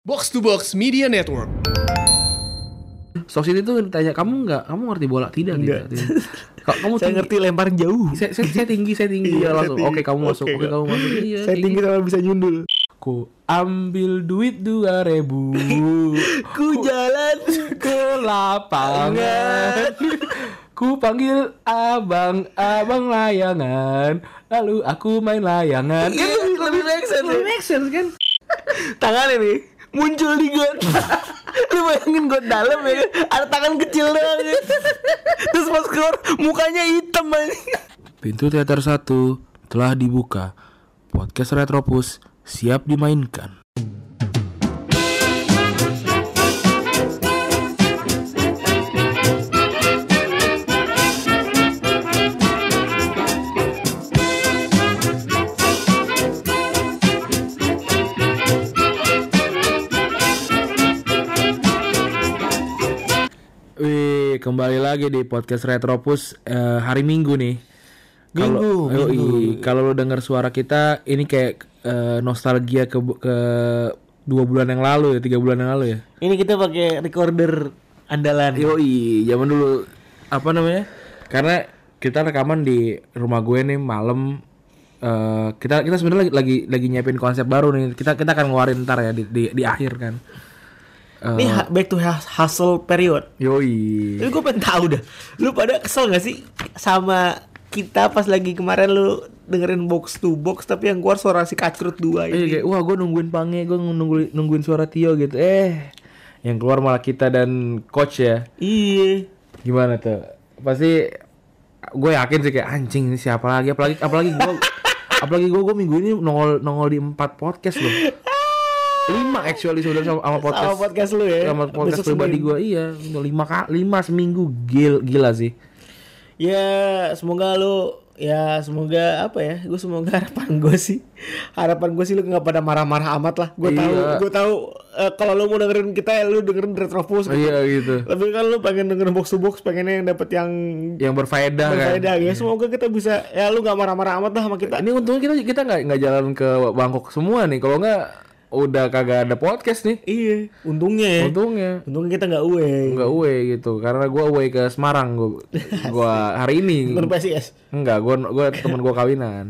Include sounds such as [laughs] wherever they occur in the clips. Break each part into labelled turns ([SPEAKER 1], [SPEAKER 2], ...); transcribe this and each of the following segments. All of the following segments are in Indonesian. [SPEAKER 1] Box to Box Media Network.
[SPEAKER 2] Stokes itu tuh ditanya kamu nggak kamu ngerti bola tidak tidak,
[SPEAKER 3] Nggak.
[SPEAKER 2] tidak. Ka- kamu
[SPEAKER 3] saya
[SPEAKER 2] tinggi.
[SPEAKER 3] ngerti lempar jauh.
[SPEAKER 2] saya, saya, saya tinggi saya tinggi ya
[SPEAKER 3] Iya,
[SPEAKER 2] langsung
[SPEAKER 3] saya
[SPEAKER 2] oke
[SPEAKER 3] tinggi.
[SPEAKER 2] kamu masuk
[SPEAKER 3] Oke,
[SPEAKER 2] oke
[SPEAKER 3] Kak.
[SPEAKER 2] kamu masuk iya
[SPEAKER 3] Saya
[SPEAKER 2] kayak
[SPEAKER 3] tinggi
[SPEAKER 2] gitu.
[SPEAKER 3] sama bisa nyundul.
[SPEAKER 2] ku ambil duit dua [laughs] ribu
[SPEAKER 3] Ku jalan
[SPEAKER 2] ke [laughs] lapangan ku panggil abang abang layangan lalu aku main layangan Kan
[SPEAKER 3] lebih make sense. ya.
[SPEAKER 2] lebih make sense kan
[SPEAKER 3] Tangan ini muncul di got. [laughs] Lu bayangin got dalam ya kan? Ada tangan kecil doang ya. Terus pas keluar mukanya hitam anjing.
[SPEAKER 2] Pintu teater satu telah dibuka. Podcast Retropus siap dimainkan. Wih, kembali lagi di podcast Retropus eh, hari Minggu nih. Kalau-
[SPEAKER 3] Minggu,
[SPEAKER 2] Yoi, kalau lo dengar suara kita, ini kayak eh, nostalgia ke ke dua bulan yang lalu ya, tiga bulan yang lalu ya.
[SPEAKER 3] Ini kita pakai recorder andalan.
[SPEAKER 2] Yoi, zaman dulu apa namanya? Karena kita rekaman di rumah gue nih malam. Eh, kita kita sebenarnya lagi, lagi lagi nyiapin konsep baru nih. Kita kita akan ngeluarin ntar ya di di, di akhir kan.
[SPEAKER 3] Ini ha- back to hus- hustle period.
[SPEAKER 2] Yoi.
[SPEAKER 3] Tapi gue pengen tahu dah. Lu pada kesel gak sih sama kita pas lagi kemarin lu dengerin box to box tapi yang keluar suara si kacrut dua
[SPEAKER 2] Iya
[SPEAKER 3] ini.
[SPEAKER 2] kayak wah gue nungguin pange, gue nungguin nungguin suara Tio gitu. Eh, yang keluar malah kita dan coach ya.
[SPEAKER 3] Iya.
[SPEAKER 2] Gimana tuh? Pasti gue yakin sih kayak anjing ini siapa lagi apalagi apalagi gue [laughs] apalagi gue gue minggu ini nongol nongol di empat podcast loh. Lima actually saudara sama, sama podcast.
[SPEAKER 3] Sama podcast lu ya.
[SPEAKER 2] Sama podcast
[SPEAKER 3] Besok
[SPEAKER 2] pribadi
[SPEAKER 3] Senin.
[SPEAKER 2] gue iya lima ka- lima seminggu gil gila sih.
[SPEAKER 3] Ya semoga lu ya semoga apa ya gue semoga [laughs] harapan gue sih harapan gue sih lu nggak pada marah-marah amat lah gue tahu
[SPEAKER 2] Iya.
[SPEAKER 3] gue tahu eh, kalau lu mau dengerin kita ya lu dengerin retropus gitu.
[SPEAKER 2] Iya gitu.
[SPEAKER 3] tapi kan lu pengen dengerin box to box pengennya yang dapet yang
[SPEAKER 2] Yang berfaedah,
[SPEAKER 3] berfaedah
[SPEAKER 2] Iya, kan.
[SPEAKER 3] ya semoga kita bisa ya lu nggak marah-marah amat lah sama kita
[SPEAKER 2] Ini untungnya kita kita nggak nggak jalan ke Bangkok semua nih. Kalau nggak udah kagak ada podcast nih.
[SPEAKER 3] Iya, untungnya ya.
[SPEAKER 2] Untungnya
[SPEAKER 3] Untungnya kita nggak away.
[SPEAKER 2] nggak away gitu karena gue away ke Semarang gue
[SPEAKER 3] [laughs]
[SPEAKER 2] gua hari ini
[SPEAKER 3] Bukan PSIS.
[SPEAKER 2] nggak gue gue teman gue kawinan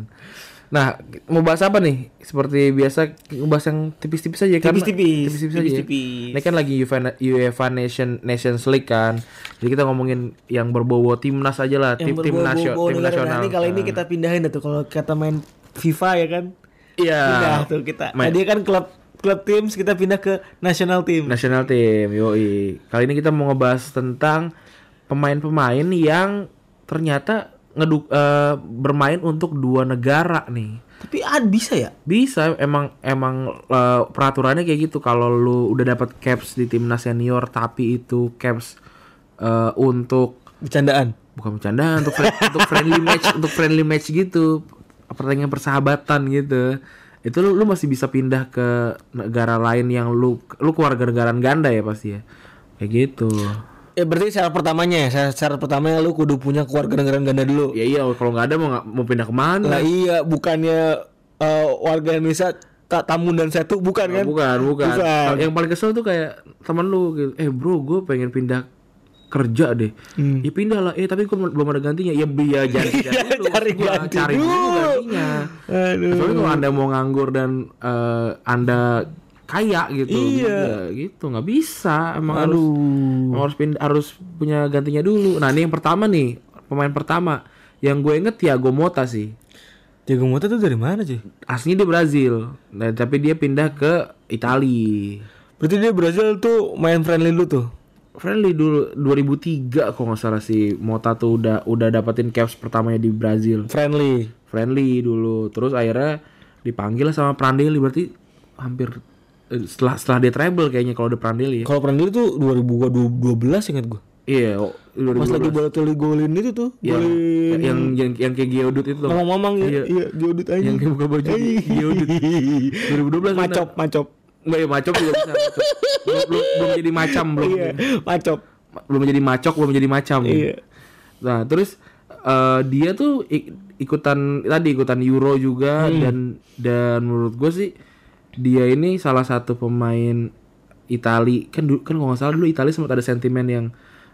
[SPEAKER 2] nah mau bahas apa nih seperti biasa bahas yang tipis-tipis aja kan
[SPEAKER 3] Tipis-tipis,
[SPEAKER 2] tipis-tipis aja
[SPEAKER 3] tipis-tipis.
[SPEAKER 2] ini kan lagi UEFA, UEFA Nation Nations League kan jadi kita ngomongin yang berbowo timnas aja lah tim tim, nasio- tim
[SPEAKER 3] berbohong-bohong negara.
[SPEAKER 2] nasional Nah.
[SPEAKER 3] Nanti kali nah, ini kita pindahin dah tuh kalau kata main FIFA ya kan.
[SPEAKER 2] iya
[SPEAKER 3] Pindah tuh kita.
[SPEAKER 2] main-
[SPEAKER 3] Tadi kan klub klub teams kita pindah ke national team.
[SPEAKER 2] National Team, yoi. Kali ini kita mau ngebahas tentang pemain-pemain yang ternyata ngeduk eh, bermain untuk dua negara nih.
[SPEAKER 3] Tapi ah, bisa ya?
[SPEAKER 2] Bisa emang emang eh, peraturannya kayak gitu kalau lu udah dapat caps di timnas senior tapi itu caps eh, untuk
[SPEAKER 3] Bercandaan.
[SPEAKER 2] bukan bercandaan untuk fri- untuk friendly [laughs] match untuk friendly match gitu pertandingan persahabatan gitu itu lu, lu masih bisa pindah ke negara lain yang lu lu keluarga negara ganda ya pasti ya kayak gitu
[SPEAKER 3] Ya berarti syarat pertamanya ya, syarat, syarat pertamanya lu kudu punya keluarga negara ganda dulu.
[SPEAKER 2] ya iya kalau nggak ada mau nggak- mau pindah kemana
[SPEAKER 3] Lah iya, bukannya eh, warga Indonesia tak tamu dan satu bukan kan?
[SPEAKER 2] Oh, bukan, bukan
[SPEAKER 3] Bukan.
[SPEAKER 2] yang paling kesel tuh kayak teman lu gitu eh bro gue pengen pindah kerja deh
[SPEAKER 3] Hmm.
[SPEAKER 2] ya pindah lah eh tapi gue belum ada gantinya ya biar
[SPEAKER 3] [laughs]
[SPEAKER 2] cari, dulu,
[SPEAKER 3] Iya, cari
[SPEAKER 2] maksud gua,
[SPEAKER 3] ganti
[SPEAKER 2] cari dulu
[SPEAKER 3] dulu.
[SPEAKER 2] gantinya
[SPEAKER 3] Aduh.
[SPEAKER 2] Kecuali kalau anda mau nganggur dan eh, anda kaya gitu,
[SPEAKER 3] Iya.
[SPEAKER 2] Nggak, gitu nggak bisa, emang
[SPEAKER 3] Aduh.
[SPEAKER 2] harus emang harus pind- harus punya gantinya dulu. Nah ini yang pertama nih pemain pertama yang gue inget Thiago Mota sih,
[SPEAKER 3] Jago Mota tuh dari mana sih?
[SPEAKER 2] aslinya dia Brazil, nah, tapi dia pindah ke Itali.
[SPEAKER 3] Berarti dia Brazil tuh main friendly dulu tuh.
[SPEAKER 2] Friendly dulu 2003 kalau nggak salah sih Mota tuh udah udah dapetin caps pertamanya di Brazil.
[SPEAKER 3] Friendly.
[SPEAKER 2] friendly dulu terus akhirnya dipanggil sama Prandelli berarti hampir eh, setelah setelah dia treble kayaknya kalau udah Prandelli ya
[SPEAKER 3] Kalau friendly tuh 2012 ingat gua.
[SPEAKER 2] iya oh,
[SPEAKER 3] Pas
[SPEAKER 2] 2012.
[SPEAKER 3] lagi Balotelli golin itu tuh.
[SPEAKER 2] yang,
[SPEAKER 3] Golin.
[SPEAKER 2] Iya. yang yang yang kayak Geodut itu loh
[SPEAKER 3] Mamang-mamang
[SPEAKER 2] Iya.
[SPEAKER 3] ya. Iya, Jodit aja.
[SPEAKER 2] yang kayak buka baju Geodut 2012 bener.
[SPEAKER 3] Iya, Macop, macop.
[SPEAKER 2] Nggak, ya, macop juga bisa macop. belum, belum, belum jadi macam belum
[SPEAKER 3] Iya, macop.
[SPEAKER 2] Ma- belum jadi macok belum jadi macam
[SPEAKER 3] Iya.
[SPEAKER 2] nah terus eh, dia tuh ik- ikutan tadi ikutan Euro
[SPEAKER 3] Hmm.
[SPEAKER 2] juga dan dan menurut gue sih dia ini salah satu pemain Itali kan du- kan kalau nggak salah dulu Itali sempat ada sentimen yang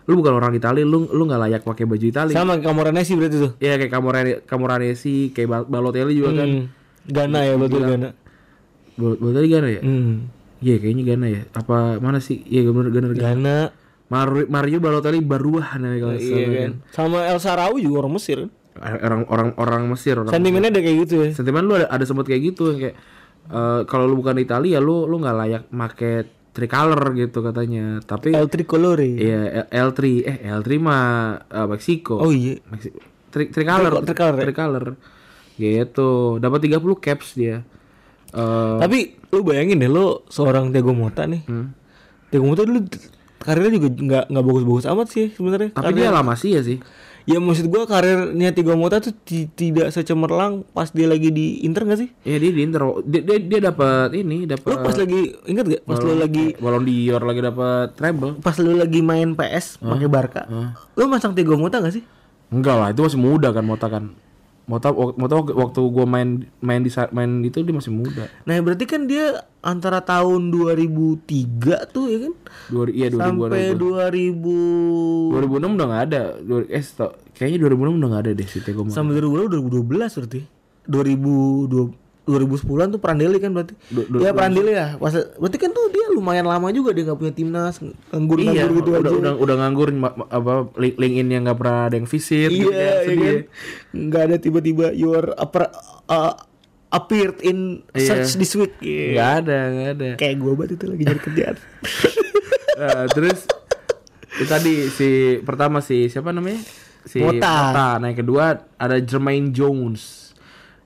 [SPEAKER 2] lu bukan orang Itali lu lu nggak layak pakai baju Itali
[SPEAKER 3] Sama kayak Kamorane sih berarti tuh.
[SPEAKER 2] ya kayak Camorane Camoranesi kayak Bal- Balotelli juga kan
[SPEAKER 3] Hmm. Gana ya betul Gana.
[SPEAKER 2] Bal- Balotelli Ghana ya
[SPEAKER 3] Hmm.
[SPEAKER 2] iya kayaknya Ghana ya apa mana sih iya bener bener Ghana.
[SPEAKER 3] Gana.
[SPEAKER 2] Mario, Mario Balotelli baruah namanya kalau nggak
[SPEAKER 3] Iya
[SPEAKER 2] salah
[SPEAKER 3] kan. Sama El Sarawi juga orang Mesir kan.
[SPEAKER 2] kan. orang orang orang Mesir orang
[SPEAKER 3] Sentimennya ada kayak gitu ya.
[SPEAKER 2] sentimen lu ada, ada sempat kayak gitu yang kayak eh, kalau lu bukan Italia lu lu nggak layak make tricolor gitu katanya tapi
[SPEAKER 3] El Tricolore.
[SPEAKER 2] Iya, L- L3 eh L3 mah eh, Meksiko.
[SPEAKER 3] Oh iya.
[SPEAKER 2] Meksi- tri tricolor,
[SPEAKER 3] Tri- tricolor ya?
[SPEAKER 2] tricolor. Gitu. Dapat 30 caps dia. Eh
[SPEAKER 3] Tapi lu bayangin deh lu seorang Thiago Motta nih. Thiago Motta dulu t- karirnya juga nggak nggak bagus-bagus amat sih sebenarnya.
[SPEAKER 2] tapi dia lama sih ya sih.
[SPEAKER 3] Ya maksud gua karirnya Thiago Motta tuh ti- tidak secemerlang pas dia lagi di Inter gak sih?
[SPEAKER 2] Ya dia di Inter dia dia, dia dapat ini
[SPEAKER 3] Lu
[SPEAKER 2] dapat
[SPEAKER 3] pas lagi ingat gak? Pas lu lagi
[SPEAKER 2] Ballon d'Or lagi dapat treble.
[SPEAKER 3] pas lu lagi main PS pakai Barca. Lu masang Thiago Motta gak sih?
[SPEAKER 2] Enggak lah, itu masih muda kan Mota kan. Mota wak- Mota wak- waktu gua main main di sa- main itu dia masih muda.
[SPEAKER 3] Nah, berarti kan dia antara tahun 2003 tuh ya kan
[SPEAKER 2] Dua, iya 2000
[SPEAKER 3] sampai 2000
[SPEAKER 2] 2006 udah nggak ada. Dua- Eh, sto- kayaknya 2006 udah nggak ada deh si Tego Mota.
[SPEAKER 3] sampai 2012 berarti. 2002 2010-an tuh Prandelli kan berarti. Iya Prandelli ya. Pas, berarti kan tuh dia lumayan lama juga dia nggak punya timnas,
[SPEAKER 2] Iya,
[SPEAKER 3] nganggur-nganggur gitu
[SPEAKER 2] udah,
[SPEAKER 3] aja.
[SPEAKER 2] udah udah nganggur ma- ma- apa link LinkedIn yang nggak pernah ada yang visit gitu
[SPEAKER 3] Iya,
[SPEAKER 2] kan,
[SPEAKER 3] ya
[SPEAKER 2] sedih.
[SPEAKER 3] kan? Nggak ada tiba-tiba your upper, uh, appeared in search this week. Iya.
[SPEAKER 2] Nggak ada, nggak ada.
[SPEAKER 3] [laughs] Kayak gue banget itu lagi nyari [laughs] kerjaan.
[SPEAKER 2] Nah, terus itu tadi si pertama si siapa namanya? Si Nah,
[SPEAKER 3] Mota.
[SPEAKER 2] yang kedua ada Jermaine Jones.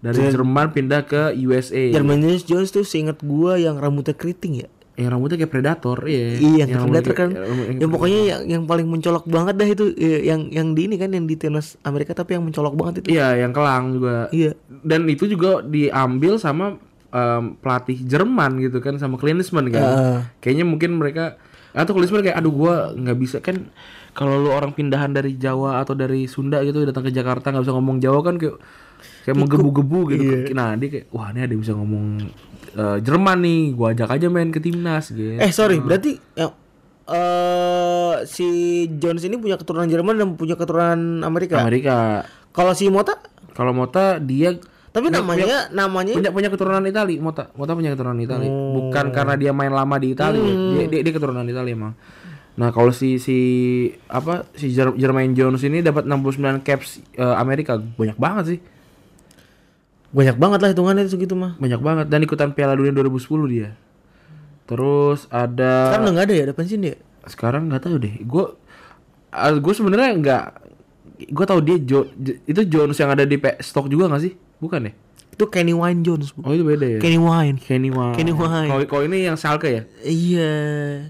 [SPEAKER 2] Dari Jerman pindah ke USA.
[SPEAKER 3] Jermaine Jones- Jones tuh seingat gue yang rambutnya keriting ya.
[SPEAKER 2] Yang rambutnya kayak predator, iya.
[SPEAKER 3] Iya, yang
[SPEAKER 2] rambutnya
[SPEAKER 3] terlihat kan.
[SPEAKER 2] kayak- yang rambutnya-
[SPEAKER 3] Yang pokoknya yang yang paling mencolok banget dah itu eh, yang yang di ini kan yang di timnas Amerika tapi yang mencolok banget itu.
[SPEAKER 2] Iya, yang kelang juga.
[SPEAKER 3] Iya.
[SPEAKER 2] Dan itu juga diambil sama em, pelatih Jerman gitu kan sama Klinsmann kan.
[SPEAKER 3] Heeh.
[SPEAKER 2] Kayaknya mungkin mereka atau Klinsmann kayak aduh gua nggak bisa kan kalau lu orang pindahan dari Jawa atau dari Sunda gitu datang ke Jakarta nggak bisa ngomong Jawa kan kayak kayak menggebu-gebu gitu.
[SPEAKER 3] Iya.
[SPEAKER 2] Nah, dia kayak wah ini ada yang bisa ngomong eh, Jerman nih, gua ajak aja main ke timnas gitu.
[SPEAKER 3] Eh sorry, berarti ya, eh, si Jones ini punya keturunan Jerman dan punya keturunan Amerika.
[SPEAKER 2] Amerika.
[SPEAKER 3] Kalau si Mota,
[SPEAKER 2] Kalau Mota dia
[SPEAKER 3] tapi namanya namanya
[SPEAKER 2] punya punya keturunan Itali Mota Mota punya keturunan Itali
[SPEAKER 3] Oh.
[SPEAKER 2] bukan karena dia main lama di Itali ya.
[SPEAKER 3] Hmm.
[SPEAKER 2] dia, dia, dia keturunan Itali emang nah kalau si si apa si Jer- Jermaine Jones ini dapat 69 caps eh, Amerika banyak banget sih
[SPEAKER 3] banyak banget lah hitungannya itu segitu mah.
[SPEAKER 2] banyak banget dan ikutan Piala Dunia 2010 dia terus ada
[SPEAKER 3] Sekarang udah nggak ada ya ada pensiun ya?
[SPEAKER 2] sekarang nggak tahu deh gue gue sebenarnya nggak gue tahu dia Jo- J- itu Jones yang ada di Pe- stok juga nggak sih bukan ya
[SPEAKER 3] Itu Kenny Wine Jones. Bu.
[SPEAKER 2] oh itu beda ya
[SPEAKER 3] Kenny Wine.
[SPEAKER 2] Kenny Wine.
[SPEAKER 3] Kenny Wine.
[SPEAKER 2] Kalau- Kalau ini yang Schalke ya?
[SPEAKER 3] Iya,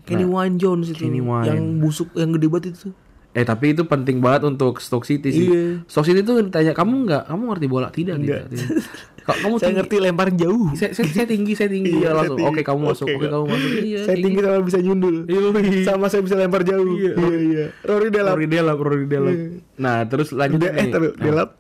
[SPEAKER 3] Kenny Wine Jones itu
[SPEAKER 2] Kenny Wine.
[SPEAKER 3] yang busuk yang gede banget itu.
[SPEAKER 2] Eh tapi itu penting banget untuk Stoke City sih.
[SPEAKER 3] Iya.
[SPEAKER 2] Stoke City tuh ditanya kamu nggak, kamu ngerti bola tidak? Tidak. tidak. Kak, kamu
[SPEAKER 3] [laughs] Saya
[SPEAKER 2] tinggi.
[SPEAKER 3] ngerti Iya, lempar jauh.
[SPEAKER 2] Saya, saya, saya tinggi, saya tinggi ya langsung. Oke kamu masuk, oke kamu
[SPEAKER 3] [laughs]
[SPEAKER 2] masuk. Iya.
[SPEAKER 3] Saya tinggi sama bisa nyundul. Sama saya bisa lempar jauh. Iya, iya. Rory Delap.
[SPEAKER 2] Rory Delap, Rory Delap. Nah terus lanjut
[SPEAKER 3] Dia- Iya. eh,
[SPEAKER 2] nih.
[SPEAKER 3] tapi Delap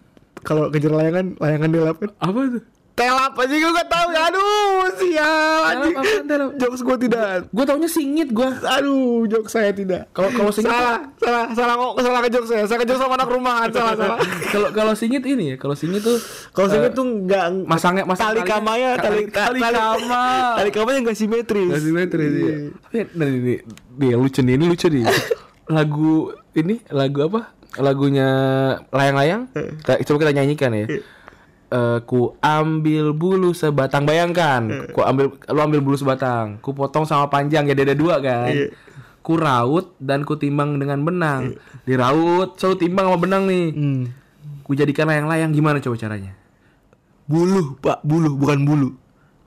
[SPEAKER 3] kalau kejar layangan, layangan Delap kan.
[SPEAKER 2] Apa itu?
[SPEAKER 3] Telap aja gue gak tahu. Aduh, sial. anjing.
[SPEAKER 2] Delap apa, Delap?
[SPEAKER 3] Jokes gue tidak.
[SPEAKER 2] Gue taunya singit gue.
[SPEAKER 3] Aduh, jokes saya tidak.
[SPEAKER 2] Kalau kalau singit
[SPEAKER 3] Salah, salah, salah kok salah ke jokes saya. Saya ke jokes sama anak rumahan, salah, salah.
[SPEAKER 2] [laughs] kalau kalau singit ini ya, kalau singit tuh
[SPEAKER 3] Kalau
[SPEAKER 2] eh,
[SPEAKER 3] saya tuh enggak
[SPEAKER 2] masangnya masang
[SPEAKER 3] tali kamanya, tali
[SPEAKER 2] tali kama.
[SPEAKER 3] Tali kamanya enggak simetris.
[SPEAKER 2] Gak simetris ya. Tapi nah, ini, ini, dia lucu nih, ini lucu
[SPEAKER 3] [laughs]
[SPEAKER 2] nih. lagu ini lagu apa? Lagunya layang-layang.
[SPEAKER 3] Eh.
[SPEAKER 2] Kita- Coba kita nyanyikan ya. Eh, ku ambil bulu sebatang
[SPEAKER 3] Eh.
[SPEAKER 2] bayangkan ku ambil lu ambil bulu sebatang ku potong sama panjang ya ada dua
[SPEAKER 3] Eh.
[SPEAKER 2] kan ku raut dan ku timbang dengan benang diraut selalu timbang sama benang nih
[SPEAKER 3] Hmm.
[SPEAKER 2] ku jadikan layang-layang gimana coba caranya
[SPEAKER 3] Buluh, Pak, buluh bukan bulu.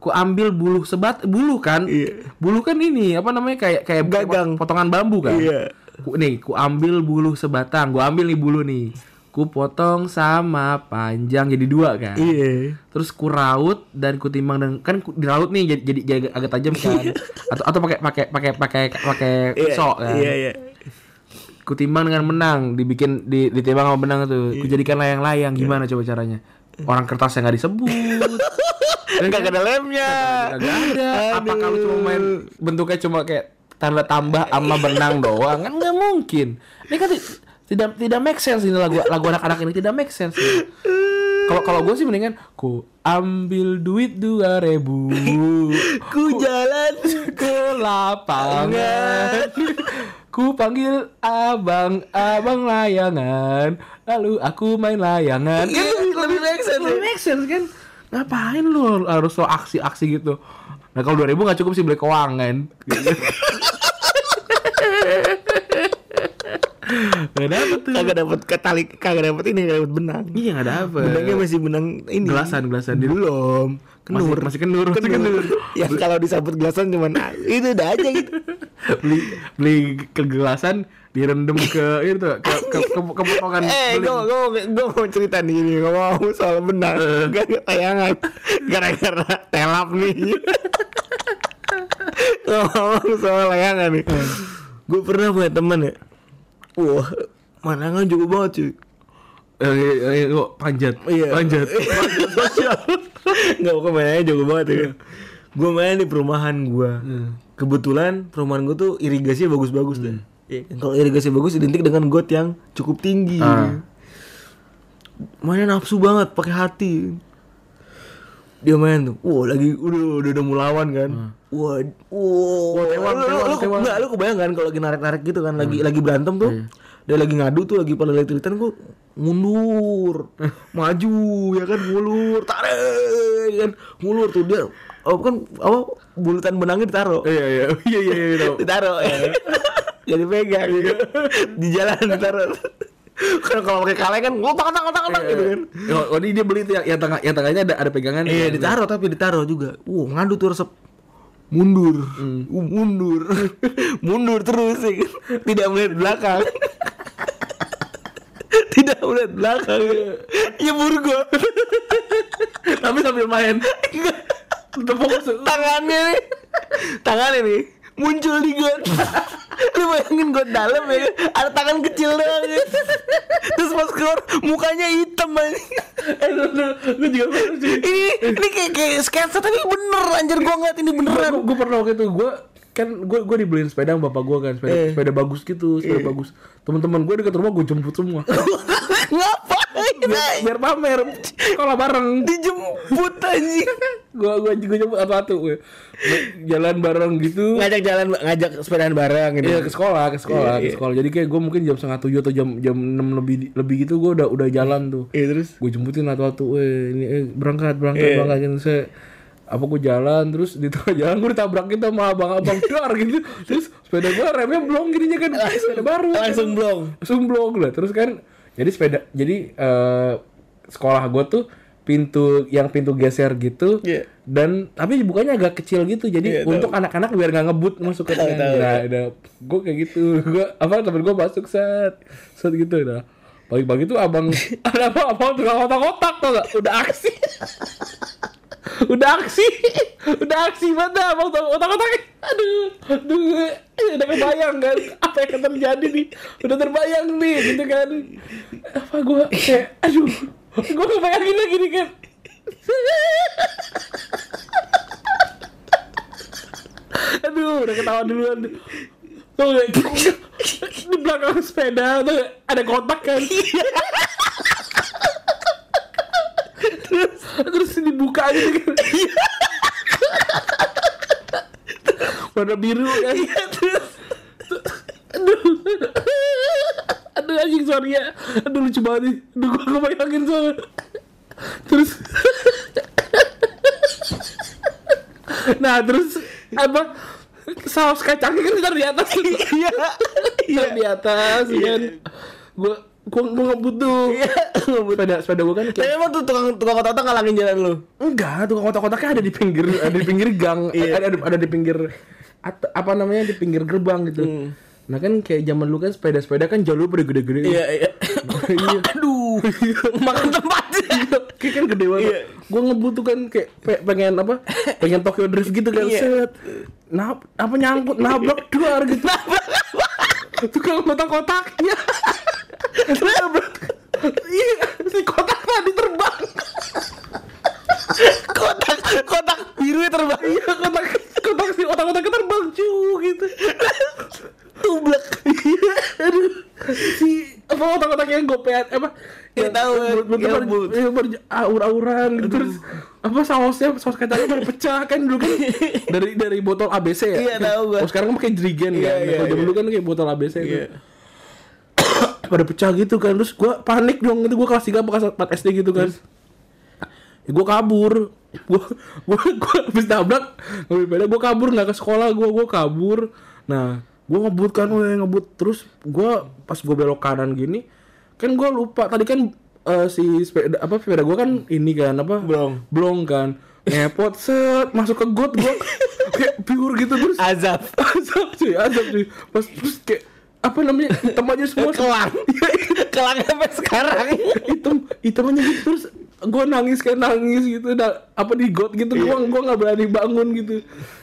[SPEAKER 2] ku ambil bulu sebat bulu kan
[SPEAKER 3] Iya.
[SPEAKER 2] bulu kan ini apa namanya kayak kayak
[SPEAKER 3] Gagang.
[SPEAKER 2] potongan bambu kan
[SPEAKER 3] Iya.
[SPEAKER 2] ku, nih ku ambil bulu sebatang gua ambil nih bulu nih ku potong sama panjang jadi dua kan
[SPEAKER 3] Iya.
[SPEAKER 2] terus ku raut dan ku timbang dan kan ku, diraut nih jadi jadi, jadi agak tajam kan atau atau pakai pakai pakai pakai pakai
[SPEAKER 4] Oh,
[SPEAKER 2] pisau kan
[SPEAKER 3] Iya. Iya, iya.
[SPEAKER 2] ku timbang dengan menang dibikin di, ditimbang sama benang
[SPEAKER 3] Iya.
[SPEAKER 2] tuh ku jadikan layang-layang gimana coba caranya orang kertasnya nggak
[SPEAKER 3] [laughs]
[SPEAKER 2] disebut
[SPEAKER 3] Enggak ada lemnya. [laughs]
[SPEAKER 2] Kagak ada. Apa kalau cuma main bentuknya cuma kayak tanda tambah sama benang doang kan nggak mungkin ini kan ti- tidak tidak make sense ini lagu lagu anak-anak ini tidak make sense gitu. kalau kalau gue sih mendingan ku ambil duit dua ribu
[SPEAKER 3] [laughs]
[SPEAKER 4] Ku jalan
[SPEAKER 3] Iya,
[SPEAKER 2] ke lapangan ku panggil abang abang layangan lalu aku main layangan
[SPEAKER 4] Iya, lebih make sense
[SPEAKER 2] lebih
[SPEAKER 4] ya.
[SPEAKER 2] make sense kan ngapain lu harus lo aksi-aksi gitu nah kalau 2000 nggak cukup sih beli keuangan Gak dapet tuh
[SPEAKER 4] Kagak dapat ketali, kagak dapat ini, kagak dapat benang.
[SPEAKER 2] Iya gak dapet
[SPEAKER 4] Benangnya masih benang ini.
[SPEAKER 2] Gelasan, gelasan.
[SPEAKER 4] Belum. Kenur.
[SPEAKER 2] Masih- masih kenur, masih kenur.
[SPEAKER 4] [laughs] Ya kalau disabut gelasan cuman ah, itu udah aja gitu.
[SPEAKER 2] beli beli kegelasan direndam ke itu ke ke ke, ke potongan
[SPEAKER 4] Eh,
[SPEAKER 2] beling.
[SPEAKER 4] gue gue gue mau cerita nih ini gue mau soal benang gak ada tayangan gara-gara telap nih. Gue mau soal layangan nih. Gue pernah punya temen ya. Wah, manangan juga banget cuy.
[SPEAKER 2] Eh, eh, eh, kok panjat
[SPEAKER 4] Iya. [laughs]
[SPEAKER 2] panjat
[SPEAKER 4] Gak bukan mainnya jago banget ya. Gue main di perumahan gue. Kebetulan perumahan gue tuh irigasinya bagus-bagus deh. Iya, Kalau irigasi bagus identik dengan got yang cukup tinggi.
[SPEAKER 2] Ah.
[SPEAKER 4] Mainnya nafsu banget, pakai hati. Dia main tuh, wah lagi udah udah, udah mau lawan kan. Wah, wah,
[SPEAKER 2] tewan,
[SPEAKER 4] lu, lu-
[SPEAKER 2] tewan,
[SPEAKER 4] lu-
[SPEAKER 2] tewan.
[SPEAKER 4] nggak, lu kebayang kan kalau lagi narik-narik gitu kan, lagi lagi berantem tuh. Dia lagi ngadu tuh, lagi pada lihat-lihatan gua [laughs] mundur, maju ya kan ngulur, tarik ya kan ngulur tuh dia. Oh, kan apa bulutan benangnya [laughs] ditaro.
[SPEAKER 2] iya iya iya iya iya tau.
[SPEAKER 4] Ditaro ya. [laughs] Jadi pegang [laughs] gitu. Di jalan [laughs] ditaro. kan kalau pakai kaleng kan ngotak ngotak ngotak ngotak gitu kan.
[SPEAKER 2] Oh, oh, ini dia beli tuh yang, yang tengah yang tengahnya ada ada pegangan.
[SPEAKER 4] Iya
[SPEAKER 2] Kan?
[SPEAKER 4] ditaruh tapi ditaruh juga. Uh ngadu tuh resep mundur, Uh, mundur, [laughs] mundur terus ya kan. Tidak melihat belakang. [laughs] Tidak melihat belakang. Nyebur gua.
[SPEAKER 2] Tapi sambil main. Tetep fokus.
[SPEAKER 4] Tangannya nih. Tangannya nih muncul di got. Lu bayangin got dalam ya kan. Ada tangan kecil doang ya. Terus pas keluar mukanya hitam aja.
[SPEAKER 2] Eh, lu, lu, lu juga pernah sih.
[SPEAKER 4] ini ini kayak, kayak sketsa tapi bener anjir gua ngeliat ini beneran
[SPEAKER 2] Gue pernah waktu itu gue kan gue gue dibeliin sepeda sama bapak gue kan sepeda
[SPEAKER 4] Eh. Iya.
[SPEAKER 2] sepeda bagus gitu sepeda bagus teman-teman gue dekat rumah gue jemput semua [laughs]
[SPEAKER 4] ngapain
[SPEAKER 2] biar,
[SPEAKER 4] anjing?
[SPEAKER 2] biar pamer sekolah bareng
[SPEAKER 4] dijemput anjing
[SPEAKER 2] gue gue gue jemput satu-satu gue jalan bareng gitu
[SPEAKER 4] ngajak jalan ngajak sepedaan bareng gitu
[SPEAKER 2] Iya ke sekolah, ke sekolah,
[SPEAKER 4] Iya,
[SPEAKER 2] ke
[SPEAKER 4] iya.
[SPEAKER 2] sekolah. Jadi kayak gue mungkin jam setengah tujuh atau jam jam enam lebih lebih gitu gue udah udah jalan tuh.
[SPEAKER 4] Iya, terus?
[SPEAKER 2] Gue jemputin atau tuh, eh ini eh, berangkat berangkat
[SPEAKER 4] Iya.
[SPEAKER 2] berangkat gitu. Saya apa gue jalan terus di tengah jalan gue ditabrak gitu sama abang-abang dar gitu terus sepeda gue remnya blong gininya kan sepeda baru
[SPEAKER 4] Ah, langsung blong.
[SPEAKER 2] langsung blong lah terus kan jadi sepeda jadi eh, sekolah gue tuh pintu yang pintu geser gitu
[SPEAKER 4] Iya.
[SPEAKER 2] dan tapi dibukanya agak kecil gitu jadi
[SPEAKER 4] Iya, tahu.
[SPEAKER 2] untuk anak-anak biar nggak ngebut masuk ke
[SPEAKER 4] Tahu,
[SPEAKER 2] tengah.
[SPEAKER 4] tahu,
[SPEAKER 2] Nah, gue kayak gitu gue apa temen gue masuk set set gitu nah pagi-pagi tuh abang [laughs] ada apa abang tukang otak-otak tuh gak udah aksi [laughs] udah aksi udah aksi banget dah abang tukang otak-otaknya aduh aduh udah kebayang kan apa yang akan terjadi nih udah terbayang nih gitu kan apa gue kayak aduh gue kebayangin lagi nih kan aduh udah ketawa duluan tuh gak? di belakang sepeda tuh ada kotak kan terus terus dibuka aja gitu kan. warna biru kan
[SPEAKER 4] terus
[SPEAKER 2] aduh aduh anjing sorry ya aduh lucu banget nih aduh gua kebayangin soalnya terus nah terus apa saus kacangnya kan ntar di atas tuh.
[SPEAKER 4] iya
[SPEAKER 2] Ntar di atas kan gua gua gua ngebut tuh sepeda sepeda gua kan
[SPEAKER 4] Iya, tapi
[SPEAKER 2] kayak
[SPEAKER 4] emang tuh tukang tukang kota ngalangin jalan lu
[SPEAKER 2] enggak tuh kotak-kotaknya ada di pinggir ada di pinggir gang
[SPEAKER 4] [laughs] Iya.
[SPEAKER 2] ada, ada ada di pinggir at- apa namanya di pinggir gerbang gitu
[SPEAKER 4] Hmm.
[SPEAKER 2] nah kan kayak zaman lu kan sepeda-sepeda kan jalur pada gede-gede
[SPEAKER 4] iya
[SPEAKER 2] [laughs] iya
[SPEAKER 4] aduh makan tempat
[SPEAKER 2] kayak kan gede banget
[SPEAKER 4] Iya.
[SPEAKER 2] gue ngebut tuh kan kayak pe- pengen apa pengen Tokyo Drift gitu kan
[SPEAKER 4] Iya.
[SPEAKER 2] set nah apa nyangkut nabrak duar gitu tukang kotak-kotaknya nabrak iya si kotak tadi terbang
[SPEAKER 4] kotak kotak biru terbang
[SPEAKER 2] iya kotak kotak si kotak-kotaknya terbang cu gitu Iya, yang gopean apa
[SPEAKER 3] Ya, tahu,
[SPEAKER 2] bulut- bulut- bulut-
[SPEAKER 3] yang bulut.
[SPEAKER 2] yang Eh, ber- aur-auran gitu terus apa sausnya saus kacangnya baru pecah kan
[SPEAKER 3] [laughs]
[SPEAKER 2] dulu kan dari dari botol ABC ya
[SPEAKER 3] Iya, tahu gua.
[SPEAKER 2] oh, sekarang kan pakai jerigen
[SPEAKER 3] Iya,
[SPEAKER 2] kan
[SPEAKER 3] iya,
[SPEAKER 2] kalau dulu
[SPEAKER 3] iya.
[SPEAKER 2] kan kayak botol ABC itu [coughs]
[SPEAKER 3] Iya.
[SPEAKER 2] pada pecah gitu kan terus gue panik dong itu gue kelas 3 apa kelas 4 SD gitu kan gue kabur gue gue gue habis nabrak mobil beda gue kabur nggak ke sekolah gue gue kabur nah gue ngebut kan gue ngebut terus gue pas gue belok kanan gini kan gue lupa tadi kan eh, si sepeda apa sepeda gue kan ini kan apa
[SPEAKER 3] Blong.
[SPEAKER 2] blong kan ngepot set masuk ke got gue kayak pure gitu terus [laughs]
[SPEAKER 3] Azab.
[SPEAKER 2] azab cuy azab cuy pas terus kayak apa namanya hitam aja semua kelang
[SPEAKER 3] Iya. Kelang sampai sekarang.
[SPEAKER 2] hitam hitam aja gitu terus gue nangis kayak nangis gitu nah, apa di got gitu gue gua nggak berani bangun gitu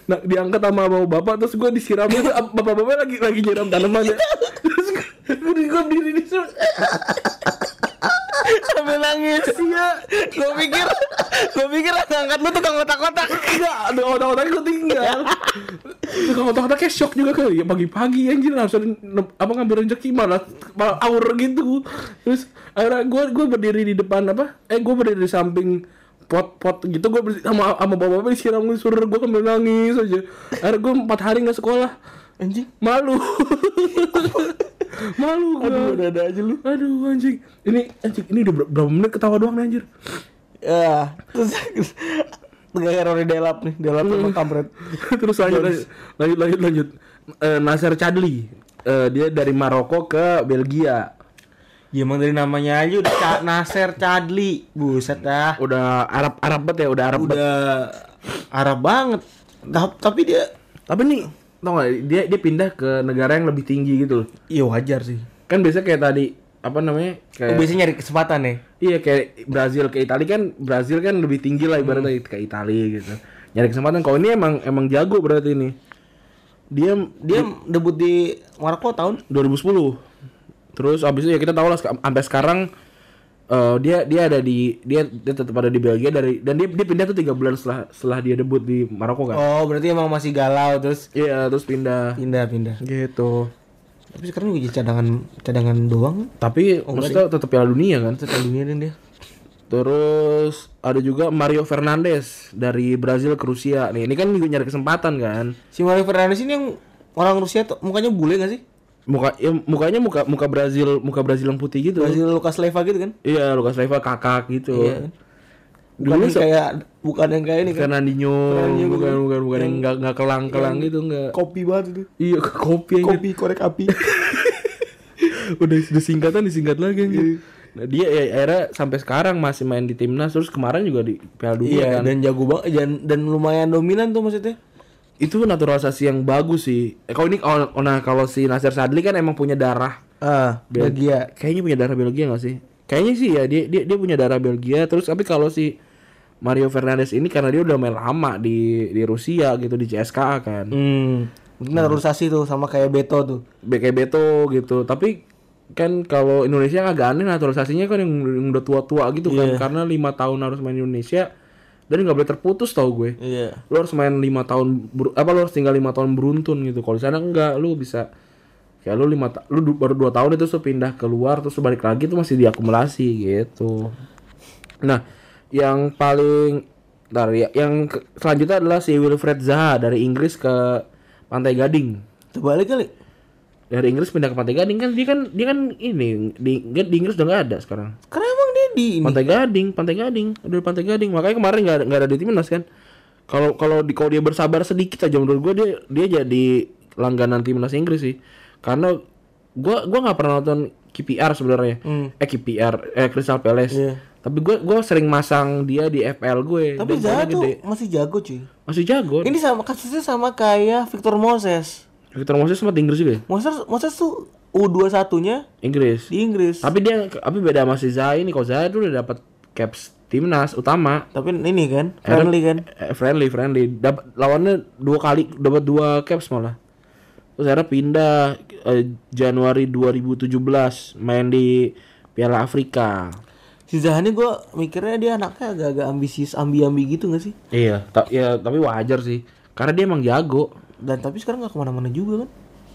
[SPEAKER 2] nah diangkat sama bapak bapak terus gue disiram itu bapak bapak lagi lagi nyiram tanaman ya terus gue di got diri di situ.
[SPEAKER 3] Sambil nangis. Iya. Gue pikir, gue pikir anak angkat lu tukang kotak-kotak.
[SPEAKER 2] enggak ada otak-otak gue tinggal tukang otak-otak kayak shock juga kali ya pagi-pagi anjir langsung ne- apa ngambil rezeki malah malah aur gitu terus akhirnya gue gue berdiri di depan apa eh gue berdiri di samping pot-pot gitu gue bersi- sama sama bapak bapak disiram suruh gue kembali nangis aja akhirnya gue empat hari nggak sekolah
[SPEAKER 3] Anjing.
[SPEAKER 2] malu [laughs] malu gue
[SPEAKER 3] Aduh, ada aja lu.
[SPEAKER 2] aduh anjing ini anjing ini udah ber- berapa menit ketawa doang nih anjir
[SPEAKER 3] Ya. Terus gara-gara udah delap nih, delap sama kampret.
[SPEAKER 2] [laughs] Terus lanjut, lanjut, lanjut, lanjut, lanjut. Eh, Nasser Chadli, Eh, dia dari Maroko ke Belgia.
[SPEAKER 3] Ya emang dari namanya aja udah Ca Nasir Chadli. Buset dah.
[SPEAKER 2] Udah Arab Arab banget ya, udah Arab banget.
[SPEAKER 3] Udah Arab banget. Ta- Tapi dia
[SPEAKER 2] Tapi nih, tau gak, dia dia pindah ke negara yang lebih tinggi gitu loh.
[SPEAKER 3] ya wajar sih.
[SPEAKER 2] Kan biasanya kayak tadi apa namanya? Kayak,
[SPEAKER 3] Lu Oh, biasanya nyari kesempatan ya.
[SPEAKER 2] Iya kayak Brazil ke Italia kan Brazil kan lebih tinggi lah ibaratnya ke Italia gitu. Nyari kesempatan kalau ini emang emang jago berarti ini. Dia
[SPEAKER 3] Dia debut di Maroko tahun
[SPEAKER 2] 2010. Terus abis itu ya kita tahu lah seka- sampai sekarang eh, dia dia ada di dia dia tetap ada di Belgia dari dan dia dia pindah tuh tiga bulan setelah setelah dia debut di Maroko kan.
[SPEAKER 3] Oh, berarti emang masih galau terus
[SPEAKER 2] Iya, terus pindah
[SPEAKER 3] pindah-pindah.
[SPEAKER 2] gitu.
[SPEAKER 3] Tapi sekarang juga jadi cadangan cadangan doang
[SPEAKER 2] Tapi Oh, maksudnya tetap Piala Dunia kan.
[SPEAKER 3] tetap dunia dan dia.
[SPEAKER 2] Terus ada juga Mario Fernandes dari Brazil ke Rusia. Nih, ini kan juga nyari kesempatan kan.
[SPEAKER 3] Si Mario Fernandes ini yang orang Rusia tuh mukanya bule gak sih?
[SPEAKER 2] Muka ya, mukanya muka muka Brazil, muka Brazil yang putih gitu.
[SPEAKER 3] Brazil Lukas Leva gitu kan?
[SPEAKER 2] Iya, Lucas Leiva kakak gitu.
[SPEAKER 3] Iya. Bukan
[SPEAKER 2] Dulu
[SPEAKER 3] yang kayak bukan yang kayak ini kan.
[SPEAKER 2] Fernandinho,
[SPEAKER 3] Fernandinho, Iya.
[SPEAKER 2] bukan
[SPEAKER 3] bukan.
[SPEAKER 2] bukan bukan yang nggak nggak kelang kelang gitu nggak
[SPEAKER 3] Kopi banget itu.
[SPEAKER 2] iya [laughs] kopi aja
[SPEAKER 3] Kopi korek api.
[SPEAKER 2] udah udah singkatan disingkat lagi anjir.
[SPEAKER 3] Iya.
[SPEAKER 2] Nah, dia ya, akhirnya sampai sekarang masih main di timnas terus kemarin juga di Piala Dunia
[SPEAKER 3] iya,
[SPEAKER 2] kan.
[SPEAKER 3] dan jago banget dan, dan lumayan dominan tuh maksudnya.
[SPEAKER 2] itu naturalisasi yang bagus sih eh, kalau ini oh, oh, nah kalau si Nasir Sadli kan emang punya darah
[SPEAKER 3] Ah,
[SPEAKER 2] Bel-
[SPEAKER 3] Belgia.
[SPEAKER 2] kayaknya punya darah Belgia nggak sih kayaknya sih ya dia dia, dia punya darah Belgia terus tapi kalau si Mario Fernandes ini karena dia udah main lama di di Rusia gitu di CSKA kan
[SPEAKER 3] Hmm. Naturalisasi tuh sama kayak Beto tuh.
[SPEAKER 2] BK Beto gitu tapi kan kalau Indonesia agak aneh naturalisasinya kan yang, yang udah tua-tua gitu kan karena lima tahun harus main Indonesia dan nggak boleh terputus tau gue
[SPEAKER 3] Iya.
[SPEAKER 2] lo harus main lima tahun ber- apa lo harus tinggal lima tahun beruntun gitu kalau di sana enggak lo bisa kayak lo lima ta- lo du- baru dua tahun itu lo pindah keluar terus lo balik lagi itu masih diakumulasi gitu nah yang paling ntar ya, yang ke- selanjutnya adalah si Wilfred Zaha dari Inggris ke Pantai Gading
[SPEAKER 3] Terbalik kali.
[SPEAKER 2] dari Inggris pindah ke Pantai Gading kan dia kan dia kan ini di, di Inggris udah nggak ada sekarang
[SPEAKER 3] Karena emang dia di ini.
[SPEAKER 2] Pantai Gading Pantai Gading udah di Pantai Gading makanya kemarin nggak ada- nggak ada di timnas kan kalau kalau di kalau dia bersabar sedikit aja menurut gue dia dia jadi langganan timnas Inggris sih karena gua gua nggak pernah nonton KPR sebenarnya eh KPR eh Crystal Palace
[SPEAKER 3] Hmm. Iya.
[SPEAKER 2] tapi gue gua sering masang dia di FL gue
[SPEAKER 3] Tapi
[SPEAKER 2] Dan
[SPEAKER 3] Zaha
[SPEAKER 2] golnya
[SPEAKER 3] tuh
[SPEAKER 2] gede.
[SPEAKER 3] masih jago cuy.
[SPEAKER 2] masih jago
[SPEAKER 3] Ini sama kasusnya sama kayak Victor Moses.
[SPEAKER 2] Victor Moses sempat di Inggris juga ya?
[SPEAKER 3] Moses Moses tuh U21-nya
[SPEAKER 2] Inggris
[SPEAKER 3] di Inggris.
[SPEAKER 2] Tapi dia tapi beda sama si Zaha ini kalau Zaha tuh udah dapat caps timnas utama.
[SPEAKER 3] Tapi ini kan friendly kan.
[SPEAKER 2] Eh, friendly friendly dapat lawannya dua kali dapat dua caps malah. Terus akhirnya pindah eh, Januari 2017 main di Piala Afrika.
[SPEAKER 3] Si Zaha ini gue mikirnya dia anaknya agak-agak ambisius, ambi-ambi gitu gak sih?
[SPEAKER 2] Iya, ta- ya tapi wajar sih. Karena dia emang jago.
[SPEAKER 3] Dan tapi sekarang gak kemana-mana juga kan?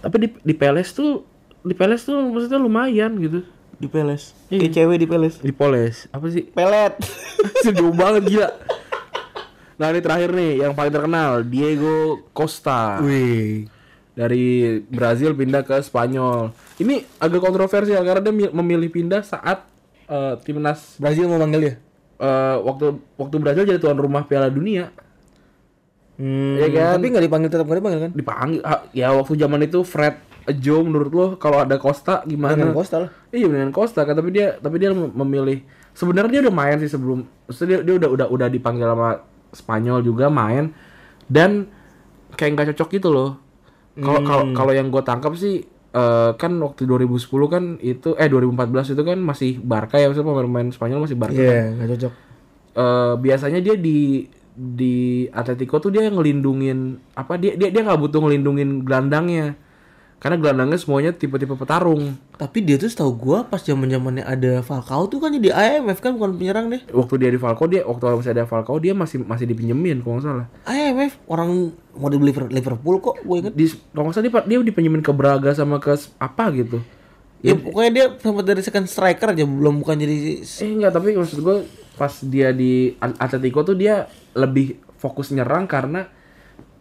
[SPEAKER 2] Tapi di di Peles tuh di Peles tuh maksudnya lumayan gitu.
[SPEAKER 3] di peles kayak cewek di peles
[SPEAKER 2] Dipoles. Apa sih?
[SPEAKER 3] pelet
[SPEAKER 2] Anjir, jauh banget gila. Nah ini terakhir nih yang paling terkenal Diego Costa
[SPEAKER 3] wih
[SPEAKER 2] dari Brazil pindah ke Spanyol. Ini agak kontroversial karena dia mi- memilih pindah saat eh, timnas
[SPEAKER 3] Brazil mau manggil dia
[SPEAKER 2] eh, waktu waktu Brazil jadi tuan rumah Piala Dunia
[SPEAKER 3] hmm,
[SPEAKER 2] Iya kan?
[SPEAKER 3] tapi nggak dipanggil tetap nggak dipanggil kan
[SPEAKER 2] dipanggil ah, ya waktu zaman itu Fred Joe menurut lo kalau ada Costa
[SPEAKER 3] Dengan
[SPEAKER 2] gimana?
[SPEAKER 3] Costa lah
[SPEAKER 2] Iya dengan Costa kan tapi dia tapi dia mem- memilih sebenarnya dia udah main sih sebelum maksudnya dia, dia udah udah udah dipanggil sama Spanyol juga main dan kayak nggak cocok gitu loh. Kalau kalau
[SPEAKER 3] Hmm.
[SPEAKER 2] kalau yang gue tangkap sih eh, kan waktu 2010 kan itu eh 2014 itu kan masih Barca ya maksudnya pemain Spanyol masih Barca. kan.
[SPEAKER 3] iya nggak cocok
[SPEAKER 2] Eh, biasanya dia di di Atletico tuh dia ngelindungin apa dia dia dia nggak butuh ngelindungin gelandangnya karena gelandangnya semuanya tipe-tipe petarung.
[SPEAKER 3] tapi dia tuh setahu gua pas zaman zamannya ada Falcao tuh kan jadi AMF kan bukan penyerang deh
[SPEAKER 2] waktu dia di Falcao dia waktu masih ada Falcao dia masih masih dipinjemin kalau nggak salah
[SPEAKER 3] AMF orang mau dibeli Liver- Liverpool kok gue inget
[SPEAKER 2] di kalau nggak salah dia, dia dipinjemin ke Braga sama ke s- apa gitu
[SPEAKER 3] ya pokoknya dia sempat dari second striker aja belum bukan jadi
[SPEAKER 2] eh nggak tapi maksud gue pas dia di At- Atletico tuh dia lebih fokus nyerang karena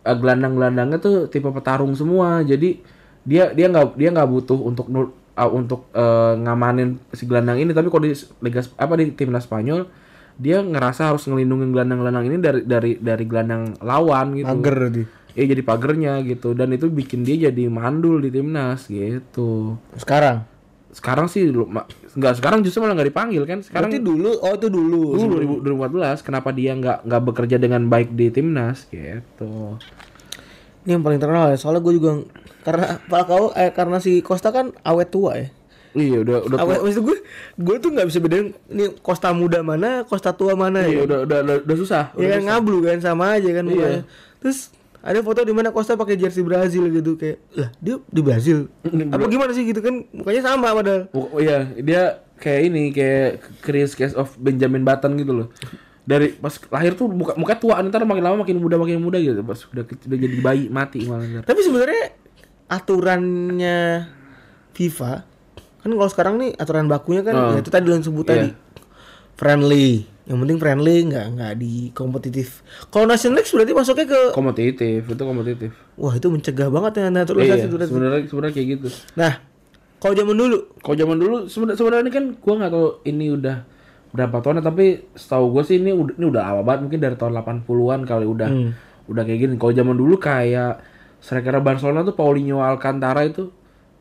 [SPEAKER 2] eh, gelandang-gelandangnya tuh tipe petarung semua jadi dia dia nggak dia nggak butuh untuk nur- ah, untuk eh, ngamanin si gelandang ini tapi kalau di s- liga Sp- apa di timnas Spanyol dia ngerasa harus ngelindungin gelandang-gelandang ini dari dari dari gelandang lawan gitu
[SPEAKER 3] tadi
[SPEAKER 2] ya jadi pagernya gitu dan itu bikin dia jadi mandul di timnas gitu
[SPEAKER 3] sekarang
[SPEAKER 2] sekarang sih lu- ma- nggak sekarang justru malah nggak dipanggil kan sekarang
[SPEAKER 3] berarti dulu oh itu dulu
[SPEAKER 2] dulu 2014 kenapa dia nggak nggak bekerja dengan baik di timnas gitu
[SPEAKER 3] ini yang paling terkenal ya soalnya gue juga karena Falcao eh, karena si Costa kan awet tua ya
[SPEAKER 2] iya udah udah tua,
[SPEAKER 3] awet maksud gue gue tuh nggak bisa bedain ini Costa muda mana Costa tua mana
[SPEAKER 2] iya,
[SPEAKER 3] ya
[SPEAKER 2] udah, udah, udah udah susah
[SPEAKER 3] ya kan ngablu kan sama aja kan mukanya. terus ada foto di mana Costa pakai jersey Brazil gitu kayak lah dia di [laughs] Brazil apa gimana sih gitu kan mukanya sama padahal
[SPEAKER 2] Oh iya, dia kayak ini kayak Chris Case of Benjamin Button gitu loh. Dari pas lahir tuh muka muka tua ntar makin lama makin muda makin muda gitu. Pas udah, ke- udah jadi bayi mati malah ntar.
[SPEAKER 3] Tapi sebenarnya aturannya FIFA kan kalau sekarang nih aturan bakunya kan ya itu tadi lo yang sebut tadi friendly. Yang penting friendly nggak nggak di kompetitif. Kalau National League berarti masuknya ke
[SPEAKER 2] Kompetitif, itu kompetitif.
[SPEAKER 3] wah itu mencegah banget ya
[SPEAKER 2] Iya,
[SPEAKER 3] naturalisasi itu.
[SPEAKER 2] sebenarnya sebenarnya kayak gitu.
[SPEAKER 3] Nah, kalau zaman dulu
[SPEAKER 2] Kalau zaman dulu sebenarnya sebenarnya ini kan gua nggak tahu ini udah berapa tahun tapi setahu gue sih ini udah ini udah lama banget mungkin dari tahun 80-an kali udah udah kayak gini. Kalau zaman dulu kayak striker Barcelona tuh Paulinho Alcantara itu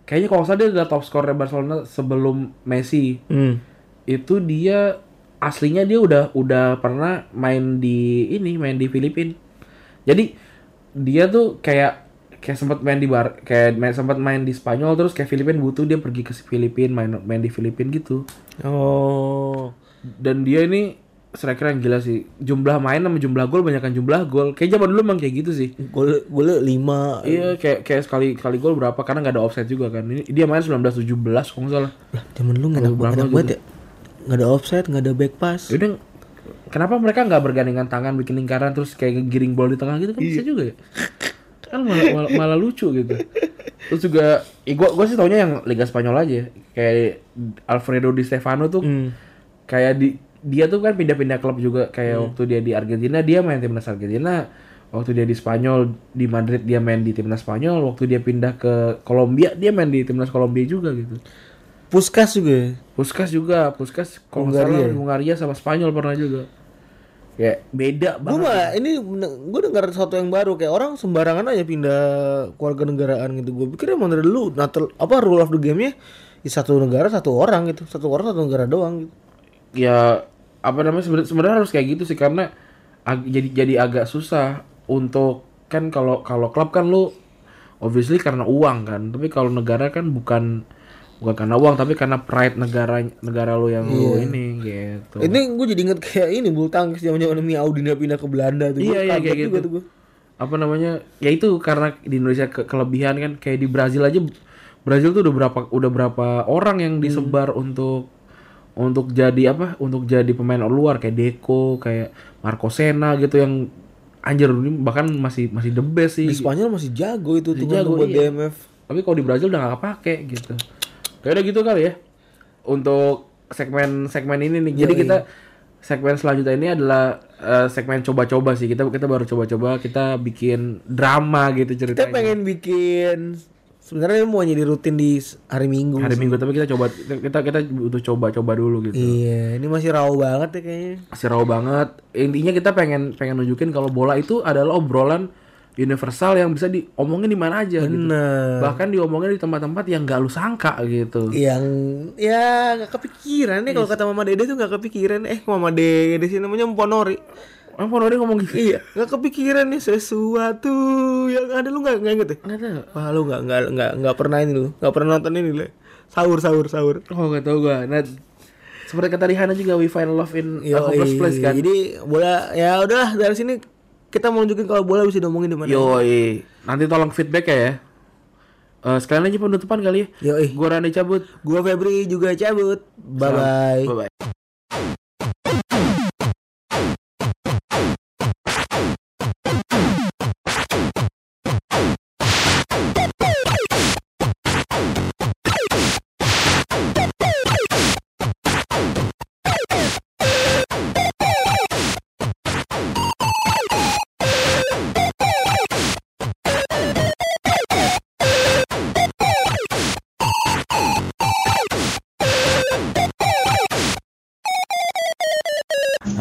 [SPEAKER 2] kayaknya kalau nggak salah dia udah top scorer Barcelona sebelum Messi.
[SPEAKER 3] Hmm.
[SPEAKER 2] Itu dia aslinya dia udah udah pernah main di ini main di Filipina. Jadi dia tuh kayak kayak sempat main di bar kayak main, sempat main di Spanyol terus kayak Filipina butuh dia pergi ke Filipina main main di Filipina gitu
[SPEAKER 3] oh
[SPEAKER 2] dan dia ini striker yang gila sih jumlah main sama jumlah gol banyakkan jumlah gol kayak zaman dulu emang kayak gitu sih
[SPEAKER 3] gol gol lima
[SPEAKER 2] iya kayak kayak sekali kali gol berapa karena nggak ada offset juga kan ini dia main 1917 kalau nggak salah
[SPEAKER 3] lah zaman dulu nggak ada nggak ada buat ya nggak ada offside nggak ada back pass
[SPEAKER 2] Yaudah, kenapa mereka nggak bergandengan tangan bikin lingkaran terus kayak giring bola di tengah gitu kan bisa juga ya? Kan malah, malah, malah lucu gitu. Terus juga, eh, gua, gua sih taunya yang Liga Spanyol aja. Kayak Alfredo Di Stefano tuh kayak di dia tuh kan pindah-pindah klub juga kayak waktu dia di Argentina dia main timnas Argentina waktu dia di Spanyol di Madrid dia main di timnas Spanyol waktu dia pindah ke Kolombia dia main di timnas Kolombia juga gitu
[SPEAKER 3] puskas juga ya.
[SPEAKER 2] Puskas juga, Puskas kalau nggak salah Hungaria sama Spanyol pernah juga. Ya beda
[SPEAKER 3] Gue
[SPEAKER 2] banget.
[SPEAKER 3] mah ini gue dengar sesuatu yang baru kayak orang sembarangan aja pindah keluarga negaraan gitu. Gue pikir emang dari dulu natal apa rule of the game-nya ya satu negara satu orang gitu, satu orang satu negara doang gitu.
[SPEAKER 2] Ya apa namanya sebenarnya sebenarnya harus kayak gitu sih karena ag- jadi jadi agak susah untuk kan kalau kalau klub kan lu obviously karena uang kan, tapi kalau negara kan bukan bukan karena uang tapi karena pride negara negara lu yang lu ini gitu.
[SPEAKER 3] Ini gue jadi inget kayak ini bulu tangkis zaman-zaman Mi Audina pindah ke Belanda tuh.
[SPEAKER 2] Iya,
[SPEAKER 3] Gua
[SPEAKER 2] iya,
[SPEAKER 3] kaget
[SPEAKER 2] kayak
[SPEAKER 3] juga
[SPEAKER 2] gitu.
[SPEAKER 3] tuh gua.
[SPEAKER 2] apa namanya ya itu karena di Indonesia ke- kelebihan kan kayak di Brazil aja Brazil tuh udah berapa udah berapa orang yang
[SPEAKER 3] Hmm.
[SPEAKER 2] disebar untuk untuk jadi apa untuk jadi pemain luar kayak Deco kayak Marco Sena gitu yang anjir ini bahkan masih masih the best sih
[SPEAKER 3] Di Spanyol masih jago itu tuh
[SPEAKER 2] jago,
[SPEAKER 3] buat
[SPEAKER 2] iya.
[SPEAKER 3] DMF.
[SPEAKER 2] tapi kalau di Brazil udah gak kepake gitu kayak udah gitu kali ya untuk segmen-segmen ini nih. Jadi kita segmen selanjutnya ini adalah eh, segmen coba-coba sih. Kita kita baru coba-coba kita bikin drama gitu
[SPEAKER 3] Kita
[SPEAKER 2] ceritanya.
[SPEAKER 3] pengen bikin sebenarnya mau jadi rutin di hari Minggu.
[SPEAKER 2] Hari
[SPEAKER 3] sih.
[SPEAKER 2] Minggu tapi kita coba kita kita butuh coba-coba dulu gitu.
[SPEAKER 3] Iya, ini masih raw banget ya kayaknya.
[SPEAKER 2] masih raw banget. Intinya kita pengen pengen nunjukin kalau bola itu adalah obrolan universal yang bisa diomongin di mana aja gitu.
[SPEAKER 3] Bener. Iya.
[SPEAKER 2] Bahkan diomongin di tempat-tempat yang gak lu sangka gitu.
[SPEAKER 3] Yang ya nggak kepikiran nih kalau kata Mama Dede tuh nggak kepikiran. Eh, Mama Dede sih namanya Mponori.
[SPEAKER 2] Emang Ponori ngomong gitu?
[SPEAKER 3] Iya, nggak kepikiran nih sesuatu yang ada lu nggak nggak inget ya?
[SPEAKER 2] Nggak tahu.
[SPEAKER 3] Wah lu nggak nggak nggak nggak pernah ini lu, nggak pernah nonton ini lu. Sahur sahur sahur.
[SPEAKER 2] Oh gak tau gue. Nah, seperti kata Rihanna juga we find love in a
[SPEAKER 3] Yoi.
[SPEAKER 2] hopeless place kan.
[SPEAKER 3] Iya, Jadi bola ya udahlah dari sini kita mau nunjukin kalau bola bisa diomongin di mana.
[SPEAKER 2] Yoi. Nanti tolong feedback ya. ya. Eh, sekalian aja penutupan kali ya.
[SPEAKER 3] Yoi.
[SPEAKER 2] Gue Rani cabut.
[SPEAKER 3] Gua Febri juga cabut. Bye bye.
[SPEAKER 2] Bye bye.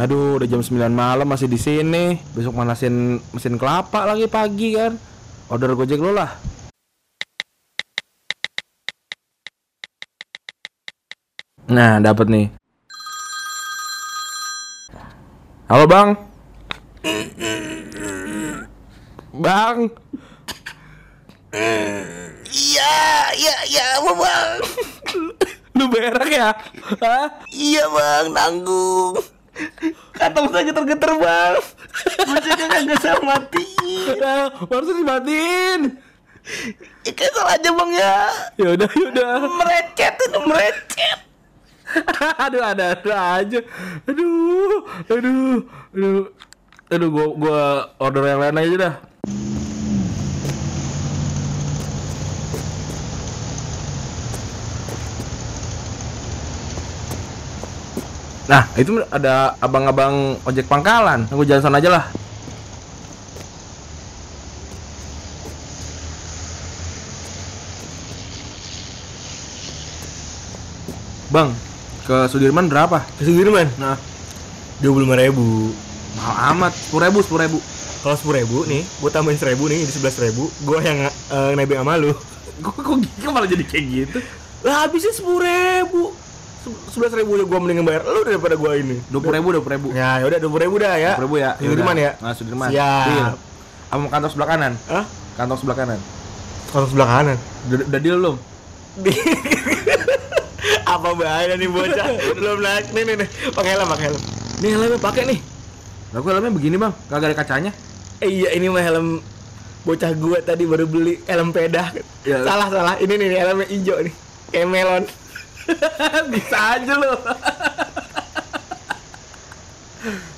[SPEAKER 2] Aduh, udah jam 9 malam masih di sini. Besok manasin mesin kelapa lagi pagi kan. Order Gojek lo lah. Nah, dapat nih. Halo, Bang. Bang.
[SPEAKER 3] Iya iya iya apa bang?
[SPEAKER 2] Lu berak ya? Hah?
[SPEAKER 3] Iya bang tanggung. Kata saya geter-geter bang. Maksudnya kagak saya matiin.
[SPEAKER 2] Nah, harus dimatiin.
[SPEAKER 3] Ikan salah aja bang ya.
[SPEAKER 2] Ya udah, ya udah.
[SPEAKER 3] Merecet itu merecet.
[SPEAKER 2] [laughs] aduh ada ada aja aduh aduh aduh aduh gua gua order yang lain aja dah Nah, itu ada abang-abang ojek pangkalan. Aku jalan sana aja lah. Bang, ke Sudirman berapa?
[SPEAKER 3] Sudirman
[SPEAKER 2] Nah,
[SPEAKER 3] dua puluh lima ribu.
[SPEAKER 2] mahal amat. Sepuluh ribu, sepuluh ribu.
[SPEAKER 3] Kalau sepuluh ribu nih, gue tambahin seribu nih jadi sebelas ribu. Gue yang uh, nebeng sama lu.
[SPEAKER 2] Kok, kok, kok malah jadi kayak gitu?
[SPEAKER 3] Lah habisnya sepuluh ribu. Sebelas ribu udah gue mending bayar lu daripada gue ini.
[SPEAKER 2] Dua puluh ribu, dua puluh ribu.
[SPEAKER 3] Ya, yaudah dua puluh ribu dah ya.
[SPEAKER 2] Sudirman ya.
[SPEAKER 3] Sudirman ya.
[SPEAKER 2] Nah, Sudirman.
[SPEAKER 3] Siap.
[SPEAKER 2] Deal. Sama kantor sebelah kanan.
[SPEAKER 3] Hah?
[SPEAKER 2] Kantor sebelah kanan.
[SPEAKER 3] Kalau sebelah kanan. [laughs]
[SPEAKER 2] Udah, udah deal belum?
[SPEAKER 3] Apa bahaya nih bocah? Belum naik nih nih nih. Pakai helm, pakai helm. Nih helmnya pakai nih.
[SPEAKER 2] Lah gua helmnya begini, Bang. Kagak ada kacanya.
[SPEAKER 3] Eh, iya ini mah helm bocah gue tadi baru beli helm peda.
[SPEAKER 2] Ya.
[SPEAKER 3] Salah salah. Ini nih, nih helmnya hijau nih. Kayak melon.
[SPEAKER 2] Bisa aja lo.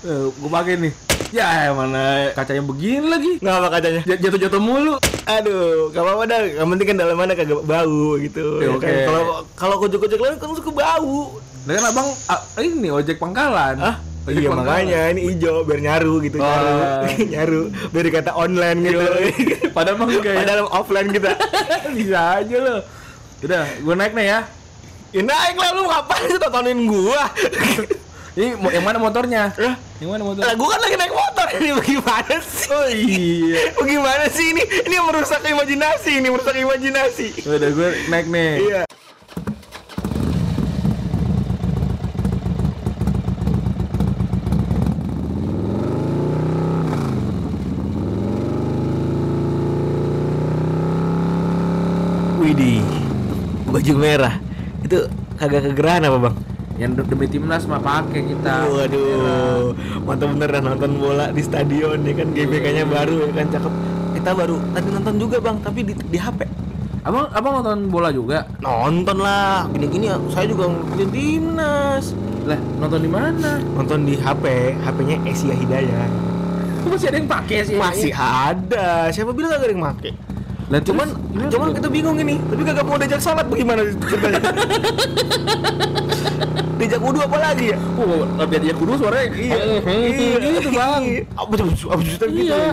[SPEAKER 2] Eh, gua pakai nih. Ya, mana kacanya begini lagi.
[SPEAKER 3] Nggak apa kacanya.
[SPEAKER 2] J- Jatuh-jatuh mulu.
[SPEAKER 3] Aduh, gak apa-apa dah. Yang penting kan dalam mana kagak bau gitu.
[SPEAKER 2] Ya,
[SPEAKER 3] ya
[SPEAKER 2] oke.
[SPEAKER 3] kan? Kalau kalau kojek-kojek lain kan suka bau.
[SPEAKER 2] Lah kan Abang ah, ini ojek pangkalan.
[SPEAKER 3] Ah,
[SPEAKER 2] Ojek
[SPEAKER 3] iya
[SPEAKER 2] pangkalan.
[SPEAKER 3] makanya ini hijau biar nyaru gitu,
[SPEAKER 2] Oh.
[SPEAKER 3] nyaru. nyaru. [laughs] Biar kata online gitu.
[SPEAKER 2] [laughs] Padahal mah enggak ya.
[SPEAKER 3] [laughs] Padahal offline kita.
[SPEAKER 2] [laughs] Bisa aja lo. Udah, gua naik nih ya.
[SPEAKER 3] Ya naik lah lu ngapain sih tontonin
[SPEAKER 2] [laughs]
[SPEAKER 3] gua?
[SPEAKER 2] Ini mo- yang mana motornya?
[SPEAKER 3] Lah,
[SPEAKER 2] Yang mana motor?
[SPEAKER 3] lah gua kan lagi naik motor ini bagaimana sih?
[SPEAKER 2] Oh iya.
[SPEAKER 3] Bagaimana sih ini? Ini merusak imajinasi, ini merusak imajinasi.
[SPEAKER 2] Udah gue naik nih.
[SPEAKER 3] Iya. Widih, baju merah itu kagak kegerahan apa bang?
[SPEAKER 2] Yang de- demi timnas mah pakai kita.
[SPEAKER 3] Iya. Waduh, mantap bener dah nonton bola di stadion ya kan GBK-nya baru ya kan cakep. Kita baru tadi nonton juga bang, tapi di, di HP.
[SPEAKER 2] Abang abang nonton bola juga?
[SPEAKER 3] Nonton lah, gini-gini ya, saya juga ngikutin timnas.
[SPEAKER 2] Lah, nonton di mana?
[SPEAKER 3] Nonton di HP, HP-nya Asia Hidayah.
[SPEAKER 2] Kok masih ada yang pakai sih?
[SPEAKER 3] Masih ada, siapa bilang gak ada yang make?
[SPEAKER 5] Lah
[SPEAKER 3] Cuman
[SPEAKER 2] Iya,
[SPEAKER 3] cuman kita bingung ini, tapi kagak mau diajak salat bagaimana ceritanya? diajak wudhu apa lagi ya?
[SPEAKER 2] Oh, tapi dia kudu suaranya. Iya.
[SPEAKER 3] Iya.
[SPEAKER 2] Gitu, Bang.
[SPEAKER 3] Apa tuh? Apa juta gitu?
[SPEAKER 2] Iya.
[SPEAKER 3] ya?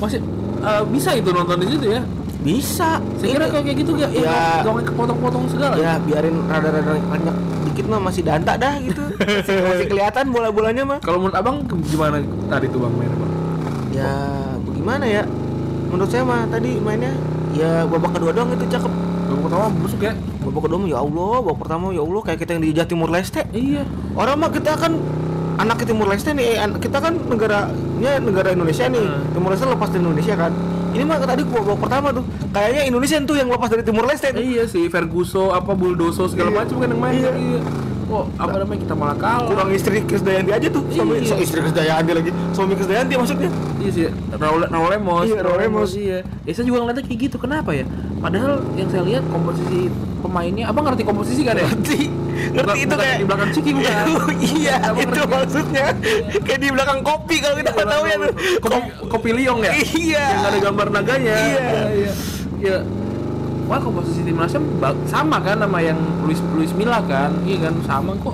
[SPEAKER 2] Masih eh, bisa itu nonton di situ ya.
[SPEAKER 3] Bisa.
[SPEAKER 2] Saya kira
[SPEAKER 3] Ini-
[SPEAKER 2] kalau kayak gitu ya, ya.
[SPEAKER 3] Ya.
[SPEAKER 2] dongeng kepotong-potong segala.
[SPEAKER 4] Iya.
[SPEAKER 3] ya biarin rada-rada banyak dikit mah masih dantak dah gitu. Masih, masih kelihatan bola-bolanya mah.
[SPEAKER 5] Kalau menurut Abang ke- gimana tadi tuh Bang mainnya Bang?
[SPEAKER 3] Ya bagaimana ya? Menurut saya mah tadi mainnya ya babak kedua doang itu cakep.
[SPEAKER 5] Babak pertama busuk ya.
[SPEAKER 3] Babak kedua mah ya Allah, babak pertama ya Allah kayak kita yang di Jatimur Leste.
[SPEAKER 2] Iya.
[SPEAKER 3] Orang mah kita kan anak ke Timur Leste nih, eh, an- kita kan negaranya negara Indonesia nih. Timur Leste lepas dari Indonesia kan. Ini mah tadi gua babak pertama tuh. Kayaknya Indonesia tuh yang lepas dari Timur Leste
[SPEAKER 2] Eh,
[SPEAKER 3] tuh.
[SPEAKER 2] iya sih Ferguson apa Buldoso segala macam kan yang main. Iya. Kok apa namanya kita malah kalah.
[SPEAKER 3] Kurang istri Krisdayanti aja tuh. Suami
[SPEAKER 2] Iya.
[SPEAKER 3] istri Krisdayanti lagi. Suami Krisdayanti maksudnya.
[SPEAKER 2] Iya sih, Raul, Raul Lemos.
[SPEAKER 3] Iya, Raul Lemos.
[SPEAKER 2] Iya. Ya, saya juga ngeliatnya kayak gitu. Kenapa ya? Padahal yang saya lihat komposisi pemainnya, abang ngerti komposisi kan ya?
[SPEAKER 3] Ngerti.
[SPEAKER 2] Bukan-
[SPEAKER 3] Ngerti itu
[SPEAKER 2] bukan
[SPEAKER 3] kayak
[SPEAKER 2] di belakang Ciki
[SPEAKER 3] [laughs]
[SPEAKER 2] bukan.
[SPEAKER 3] Iya,
[SPEAKER 2] Abang
[SPEAKER 3] itu
[SPEAKER 2] ngerti.
[SPEAKER 3] maksudnya. Kayak di belakang kopi kalau kita nggak tahu ya tuh.
[SPEAKER 2] Kopi, kopi liong ya?
[SPEAKER 3] Iya.
[SPEAKER 2] Yang ada gambar naganya.
[SPEAKER 3] Iya.
[SPEAKER 2] iya. Iya. Wah, komposisi timnasnya ba- sama kan sama yang Luis Luis Milla kan? Iya kan sama kok.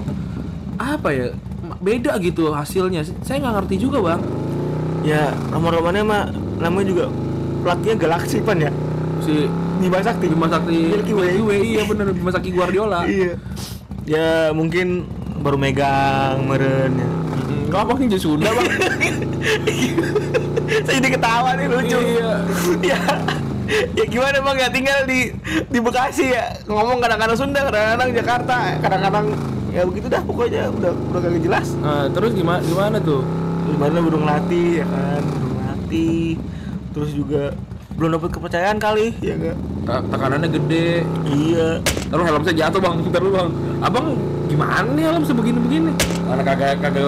[SPEAKER 2] Apa ya? Ma- Beda gitu hasilnya. Saya nggak ngerti juga, Bang.
[SPEAKER 3] Ya, nomor-nomornya mah namanya juga pelatihnya Galaxy pan ya.
[SPEAKER 2] Si
[SPEAKER 3] Bima Sakti.
[SPEAKER 2] Bima Sakti
[SPEAKER 3] Milky Way.
[SPEAKER 2] Milky Way, iya bener Bima Sakti Guardiola.
[SPEAKER 3] Iya. Ya mungkin baru megang meren ya.
[SPEAKER 2] Enggak apa sih Sunda [laughs] bang?
[SPEAKER 3] Saya jadi ketawa nih lucu.
[SPEAKER 2] Iya.
[SPEAKER 3] ya. Ya gimana bang ya tinggal di di Bekasi ya ngomong kadang-kadang Sunda kadang-kadang Jakarta kadang-kadang ya begitu dah pokoknya udah udah kagak jelas
[SPEAKER 2] Nah, terus gimana gimana tuh?
[SPEAKER 3] gimana baru ngelatih ya kan baru ngelatih terus juga belum dapat kepercayaan kali ya enggak
[SPEAKER 2] Ta- tekanannya gede.
[SPEAKER 3] iya
[SPEAKER 2] Terus helm saya jatuh bang, ntar lu bang. Abang gimana nih helm sebegini begini? Karena kagak kagak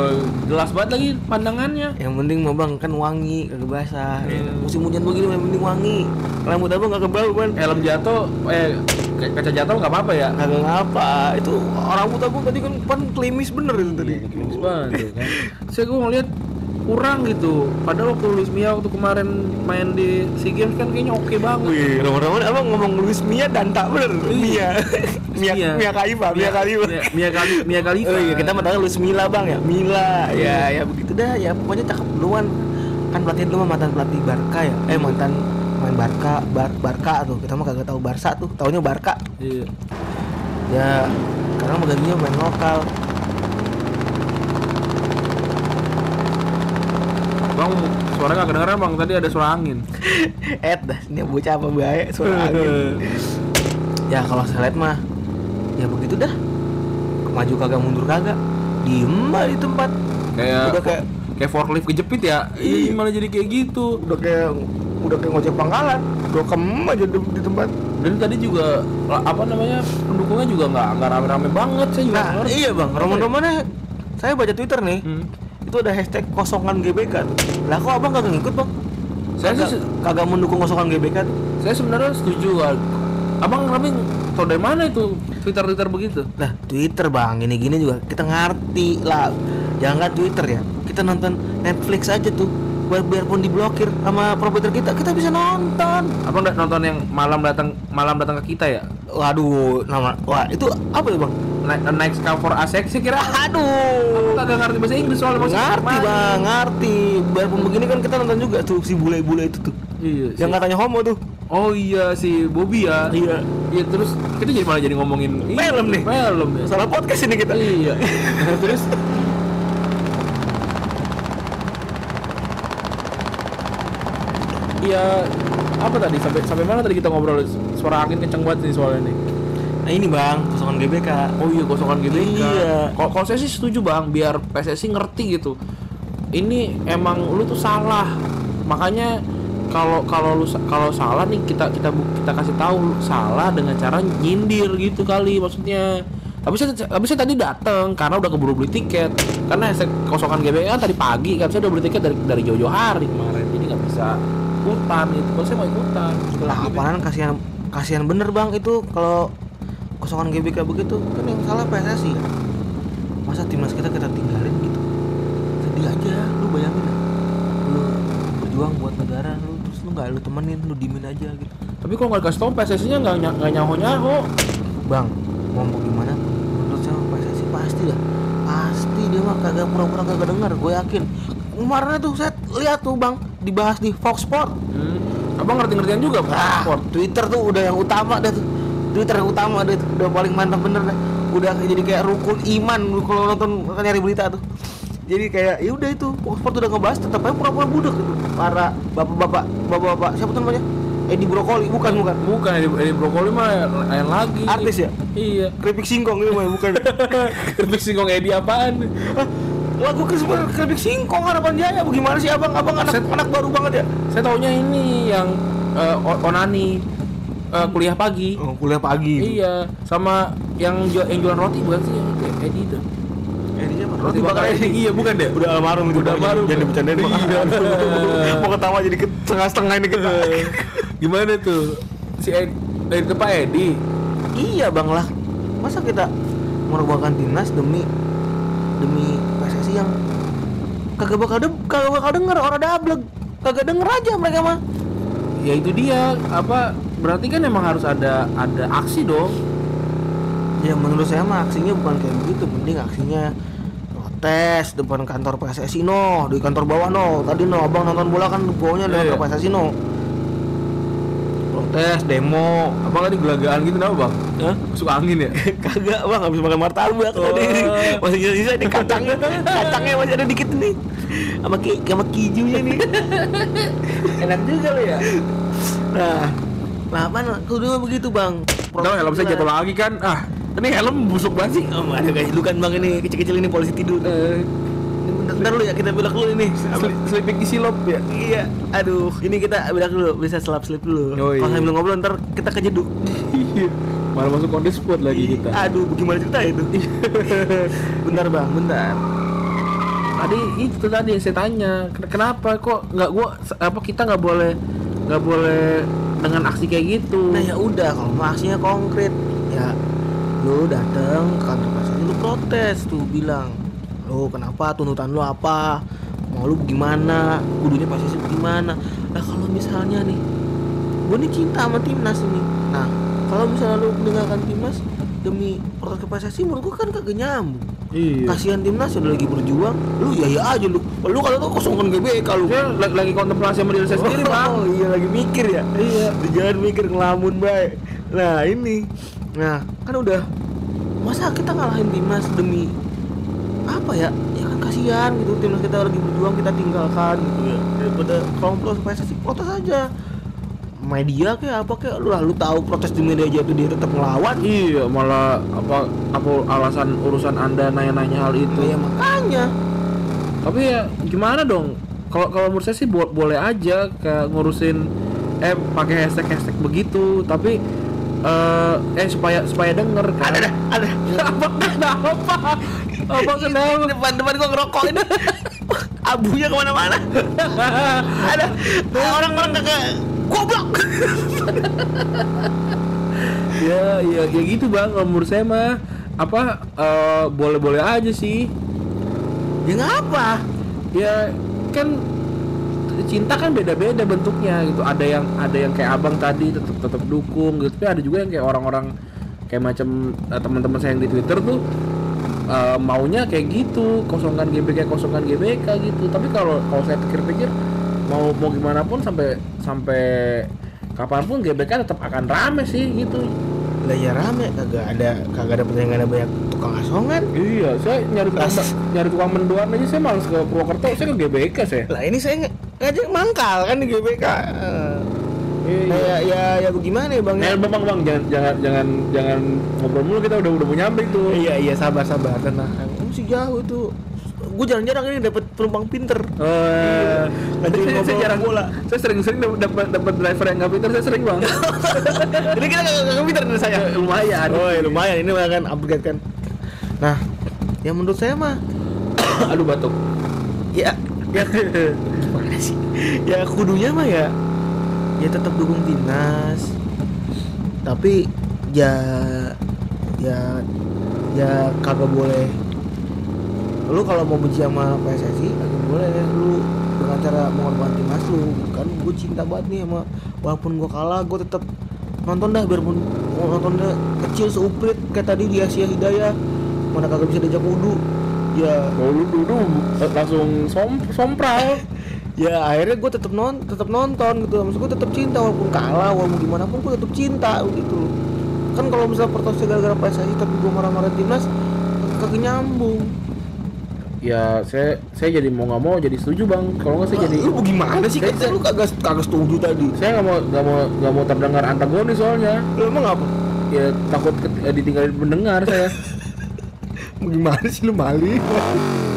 [SPEAKER 2] jelas banget lagi pandangannya.
[SPEAKER 3] yang penting mah bang kan wangi kagak basah musim hujan begini yang penting wangi rambut abang kagak bau kan
[SPEAKER 2] Helm jatuh, eh k- kaca jatuh nggak apa-apa ya?
[SPEAKER 3] Kagak ngapa, itu orang buta gua tadi kan pan klimis bener itu tadi.
[SPEAKER 2] Bagus banget tuh kan. [laughs] Saya gue ngeliat kurang gitu. Padahal waktu Luis Mia waktu kemarin main di SEA Games kan kayaknya oke banget.
[SPEAKER 3] Wih, nomor-nomor abang ngomong Luis Mia dan tak bener Mia Mia
[SPEAKER 2] Mia.
[SPEAKER 3] Mia Khalifa, Mia Khalifa
[SPEAKER 2] Mia, Mia kali Mia kali.
[SPEAKER 3] Oh iya, kita matanya Luis Mila bang ya Mila, ya ya begitu dah ya Pokoknya cakep duluan Kan pelatih dulu mah mantan pelatih Barca ya Eh mantan main Barca, Bar Barca tuh Kita mah kagak tahu Barca tuh, taunya Barca
[SPEAKER 2] Iya.
[SPEAKER 3] Ya, karena menggantinya main lokal
[SPEAKER 2] Bang, suara nggak kedengeran bang. Tadi ada suara angin.
[SPEAKER 3] Eh dah, ini bocah apa baik suara angin. ya kalau saya lihat mah ya begitu dah. Maju kagak mundur kagak. Diem aja di tempat.
[SPEAKER 2] Kayak
[SPEAKER 3] Udah kayak-
[SPEAKER 2] kayak forklift kejepit ya. Iya, malah jadi kayak gitu.
[SPEAKER 3] Udah kayak udah kayak ngojek pangkalan. Dokem aja di, di tempat.
[SPEAKER 2] Dan tadi juga la- apa namanya pendukungnya juga nggak nggak rame-rame banget saya juga
[SPEAKER 3] Nah,
[SPEAKER 2] nggak ngerti.
[SPEAKER 3] iya Bang, roman-romannya saya baca Twitter nih.
[SPEAKER 2] Hmm.
[SPEAKER 3] Itu ada hashtag kosongan GBK tuh. Lah kok Abang kagak ngikut, Bang?
[SPEAKER 2] Saya
[SPEAKER 3] Kagak,
[SPEAKER 2] sih-
[SPEAKER 3] kagak mendukung kosongan GBK tuh.
[SPEAKER 2] Saya sebenarnya setuju. Wal. Abang Rami tau dari mana itu Twitter Twitter begitu?
[SPEAKER 3] Nah, Twitter bang, gini-gini juga kita ngerti lah. Jangan kan Twitter ya, kita nonton Netflix aja tuh. Biar biarpun diblokir sama provider kita, kita bisa nonton.
[SPEAKER 2] Abang da- nonton yang malam datang malam datang ke kita ya?
[SPEAKER 3] Waduh, nama, wah itu apa ya bang?
[SPEAKER 2] Naik naik scout for asek sih kira. [laughs]
[SPEAKER 3] Aduh,
[SPEAKER 2] Kagak ngerti bahasa Inggris soalnya masih
[SPEAKER 3] ngerti
[SPEAKER 2] main.
[SPEAKER 3] bang, ngerti. Biarpun begini kan kita nonton juga tuh si bule-bule itu tuh.
[SPEAKER 2] Iya. si-
[SPEAKER 3] Yang katanya homo tuh.
[SPEAKER 2] Oh iya si Bobby ya.
[SPEAKER 3] Iya.
[SPEAKER 2] Iya terus kita jadi malah jadi ngomongin ini,
[SPEAKER 3] Film nih.
[SPEAKER 2] Film ya.
[SPEAKER 3] Salah podcast ini kita.
[SPEAKER 2] Iya. [laughs] terus Iya, apa tadi sampai sampai mana tadi kita ngobrol suara angin kenceng banget nih soalnya nih.
[SPEAKER 3] Nah ini bang, kosongan GBK.
[SPEAKER 2] Oh iya kosongan gitu.
[SPEAKER 3] Iya.
[SPEAKER 2] Kalau kalau saya sih setuju bang, biar PSSI ngerti gitu. Ini emang lu tuh salah. Makanya kalau kalau lu sa- kalau salah nih kita kita bu- kita kasih tahu lu salah dengan cara nyindir gitu kali maksudnya. Tapi saya, tapi saya tadi datang karena udah keburu beli tiket. Karena saya kosongan GBA tadi pagi kan saya udah beli tiket dari dari jauh-jauh hari kemarin. Jadi nggak bisa ikutan gitu. Kalau saya mau ikutan.
[SPEAKER 3] Lah Nah, apaan kasihan kasihan bener bang itu kalau kosongan GBK begitu kan yang salah PSSI ya. Masa timnas kita kita tinggalin gitu. Sedih aja lu bayangin ya. Lu berjuang buat negara lu terus lu nggak lu temenin lu dimin aja gitu
[SPEAKER 2] Tapi kalau nggak dikasih tau PSSI-nya nggak ny- nggak nyaho-nyaho.
[SPEAKER 3] bang mau mau gimana menurut saya PSSI pasti lah pasti dia mah kagak pura-pura kagak dengar gue yakin kemarin tuh saya lihat tuh bang dibahas di Fox Sport
[SPEAKER 2] Hmm. Abang ngerti-ngertian juga Pak
[SPEAKER 3] Ah,
[SPEAKER 2] Sport.
[SPEAKER 3] Twitter tuh udah yang utama deh tuh. Twitter yang utama deh tuh. udah paling mantap bener deh. Udah jadi kayak rukun iman lu kalau nonton nyari berita tuh. Jadi kayak ya udah itu, Fox Sport udah ngebahas tetap aja pura-pura budek gitu. Para bapak-bapak, bapak-bapak siapa tuh namanya? Edi Brokoli, bukan bukan.
[SPEAKER 2] Bukan Edi, Edi Brokoli mah lain lagi.
[SPEAKER 3] Artis ya?
[SPEAKER 2] Iya. [laughs]
[SPEAKER 3] Keripik singkong itu mah [laughs] bukan.
[SPEAKER 2] Keripik singkong Edi apaan?
[SPEAKER 3] Hah? Lagu kesemua keripik singkong harapan jaya bagaimana sih abang abang anak
[SPEAKER 2] Set.
[SPEAKER 3] anak baru banget ya
[SPEAKER 2] Saya taunya ini yang eh, o- onani eh, kuliah pagi.
[SPEAKER 3] oh, kuliah pagi
[SPEAKER 2] Iya, sama yang jual yang jualan roti bukan sih yang itu ya, Edi itu.
[SPEAKER 3] Edinya apa?
[SPEAKER 2] Roti bakar Edi. Iya, bukan deh.
[SPEAKER 3] udah almarhum itu
[SPEAKER 2] Udah
[SPEAKER 3] Bang.
[SPEAKER 2] almarhum.
[SPEAKER 3] jangan dibecandain Bang.
[SPEAKER 2] Iya.
[SPEAKER 3] [laughs] mau ketawa jadi ke- setengah-setengah ini kita
[SPEAKER 2] Gimana tuh? Si Ed, dari itu Pak Edi.
[SPEAKER 3] iya bang lah masa kita merubahkan timnas demi demi PSSI yang kagak bakal de kagak bakal denger orang dablek kagak denger aja mereka mah
[SPEAKER 2] Ya itu dia. Apa berarti kan emang harus ada ada aksi dong.
[SPEAKER 3] ya menurut saya mah aksinya bukan kayak begitu mending aksinya protes depan kantor PSSI no di kantor bawah no tadi no abang nonton bola kan bawahnya
[SPEAKER 2] Iya, iya.
[SPEAKER 3] ada PSSI no protes demo
[SPEAKER 2] Abang tadi gelagaan gitu kenapa, Bang? Hah? Masuk angin ya?
[SPEAKER 3] [laughs] kagak bang habis makan martabak tadi
[SPEAKER 2] Wah.
[SPEAKER 3] masih sisa-sisa nih kacangnya kacangnya masih ada dikit nih sama ki sama kijunya nih
[SPEAKER 2] [laughs] Enak juga lo ya.
[SPEAKER 3] nah nah apa kudu begitu bang
[SPEAKER 2] Tahu helm saya jatuh lagi kan. Ah, ini helm busuk banget sih.
[SPEAKER 3] oh, aduh guys lu kan bang ini kecil-kecil ini polisi tidur
[SPEAKER 2] Eh,
[SPEAKER 3] Ini bentar, bentar lu ya kita belok dulu ini
[SPEAKER 2] sli- Slipik isi lop ya.
[SPEAKER 3] iya aduh ini kita belok dulu bisa selap selip dulu
[SPEAKER 2] Oh, iya.
[SPEAKER 3] kalau sambil ngobrol ntar kita kejeduk
[SPEAKER 2] Malah masuk on the spot lagi kita.
[SPEAKER 3] aduh gimana cerita itu bentar bang bentar
[SPEAKER 2] tadi itu tadi yang saya tanya Ken- kenapa kok nggak gua apa kita nggak boleh nggak boleh dengan aksi kayak gitu
[SPEAKER 3] Nah ya udah kalau mau aksinya konkret ya lu datang ke kantor PSSI lu protes tuh bilang lu kenapa tuntutan lu apa mau lu gimana kudunya PSSI gimana nah kalau misalnya nih gue nih cinta sama timnas ini nah kalau misalnya lu meninggalkan timnas demi protes ke PSSI menurut gue kan kagak nyambung
[SPEAKER 2] iya
[SPEAKER 3] kasihan timnas udah lagi berjuang lu ya ya aja lu lu kalau tuh kosongkan GBK lu
[SPEAKER 2] saya lagi, lagi kontemplasi sama diri saya sendiri bang
[SPEAKER 3] Oh, iya lagi mikir ya. Iya. Jangan mikir ngelamun baik. Nah ini, nah kan udah masa kita ngalahin timnas demi apa ya? Ya kan kasihan gitu timnas kita lagi berjuang kita tinggalkan gitu ya. Daripada kelompok PSSI protes aja. Media kayak apa kayak lu lah lu tahu protes di media aja itu dia tetap ngelawan.
[SPEAKER 2] iya malah apa apa alasan urusan anda nanya-nanya hal itu
[SPEAKER 3] Nah, ya makanya
[SPEAKER 2] tapi ya gimana dong kalau kalau menurut saya sih bo- boleh aja kayak ngurusin eh pakai hashtag hashtag begitu tapi eh eh supaya supaya denger kan
[SPEAKER 3] ada dah, ada
[SPEAKER 2] [laughs] apa kenapa apa kenapa
[SPEAKER 3] depan depan gua ngerokok ini abunya kemana-mana ada ada orang-orang kagak goblok
[SPEAKER 2] ya ya ya gitu bang kalau menurut saya mah apa eh, boleh-boleh aja sih
[SPEAKER 3] ya ngapa
[SPEAKER 2] ya kan cinta kan beda-beda bentuknya gitu ada yang ada yang kayak abang tadi tetap tetap dukung gitu tapi ada juga yang kayak orang-orang kayak macam eh, teman-teman saya yang di twitter tuh eh, maunya kayak gitu kosongkan GBK kosongkan GBK gitu tapi kalau kalau saya pikir-pikir mau mau gimana pun sampai sampai kapanpun GBK tetap akan rame sih gitu
[SPEAKER 3] lah ya rame kagak ada kagak ada pertandingan ada banyak tukang asongan
[SPEAKER 2] Iya, saya nyari tukang
[SPEAKER 3] Las-
[SPEAKER 2] nyari tukang mendoan aja saya males ke Purwokerto, saya ke GBK saya.
[SPEAKER 3] lah ini saya nge- ngajak mangkal kan di GBK Eh, nah,
[SPEAKER 2] Iya.
[SPEAKER 3] ya ya ya gimana ya bang ya?
[SPEAKER 2] Nah, bang, bang, bang, jangan, jangan, jangan, jangan ngobrol mulu kita udah udah mau nyampe tuh.
[SPEAKER 3] iya iya sabar sabar tenang kamu sih jauh tuh gue jarang-jarang ini dapat penumpang pinter
[SPEAKER 2] Eh,
[SPEAKER 3] Lanjut
[SPEAKER 2] saya, saya
[SPEAKER 3] ngobrol
[SPEAKER 2] jarang
[SPEAKER 3] bola.
[SPEAKER 2] Saya sering-sering dapat dapat driver yang nggak pintar, saya sering
[SPEAKER 3] [laughs]
[SPEAKER 2] bang.
[SPEAKER 3] jadi kita kagak kagak pinter dari saya
[SPEAKER 2] Eh, Lumayan.
[SPEAKER 3] oh ya lumayan ini kan upgrade kan nah yang menurut saya mah
[SPEAKER 2] Aduh batuk.
[SPEAKER 3] ya ya gimana sih ya kudunya mah ya ya tetap dukung timnas tapi ya ya ya kagak boleh lu kalau mau benci sama PSSI kagak boleh lu dengan cara mengorbankan timnas lu kan gue cinta banget nih sama walaupun gue kalah gue tetap nonton dah biarpun nonton dah kecil seuprit kayak tadi di Asia Hidayah mana kagak bisa diajak wudhu ya
[SPEAKER 2] Kalau Oh, lu dulu langsung som sompral.
[SPEAKER 3] ya akhirnya gue tetap non tetap nonton gitu maksud gue tetap cinta walaupun kalah walaupun gimana pun gue tetap cinta gitu kan kalau misalnya pertosnya gara-gara PSSI tapi gue marah-marah timnas kagak nyambung
[SPEAKER 2] ya saya saya jadi mau nggak mau jadi setuju bang. Kalau nggak saya jadi
[SPEAKER 3] lu gimana sih kan lu kagak kagak setuju tadi
[SPEAKER 2] saya nggak mau nggak mau nggak mau terdengar antagonis soalnya
[SPEAKER 3] lu emang apa
[SPEAKER 2] ya takut ke- eh, ditinggalin pendengar saya
[SPEAKER 3] gimana sih lu maling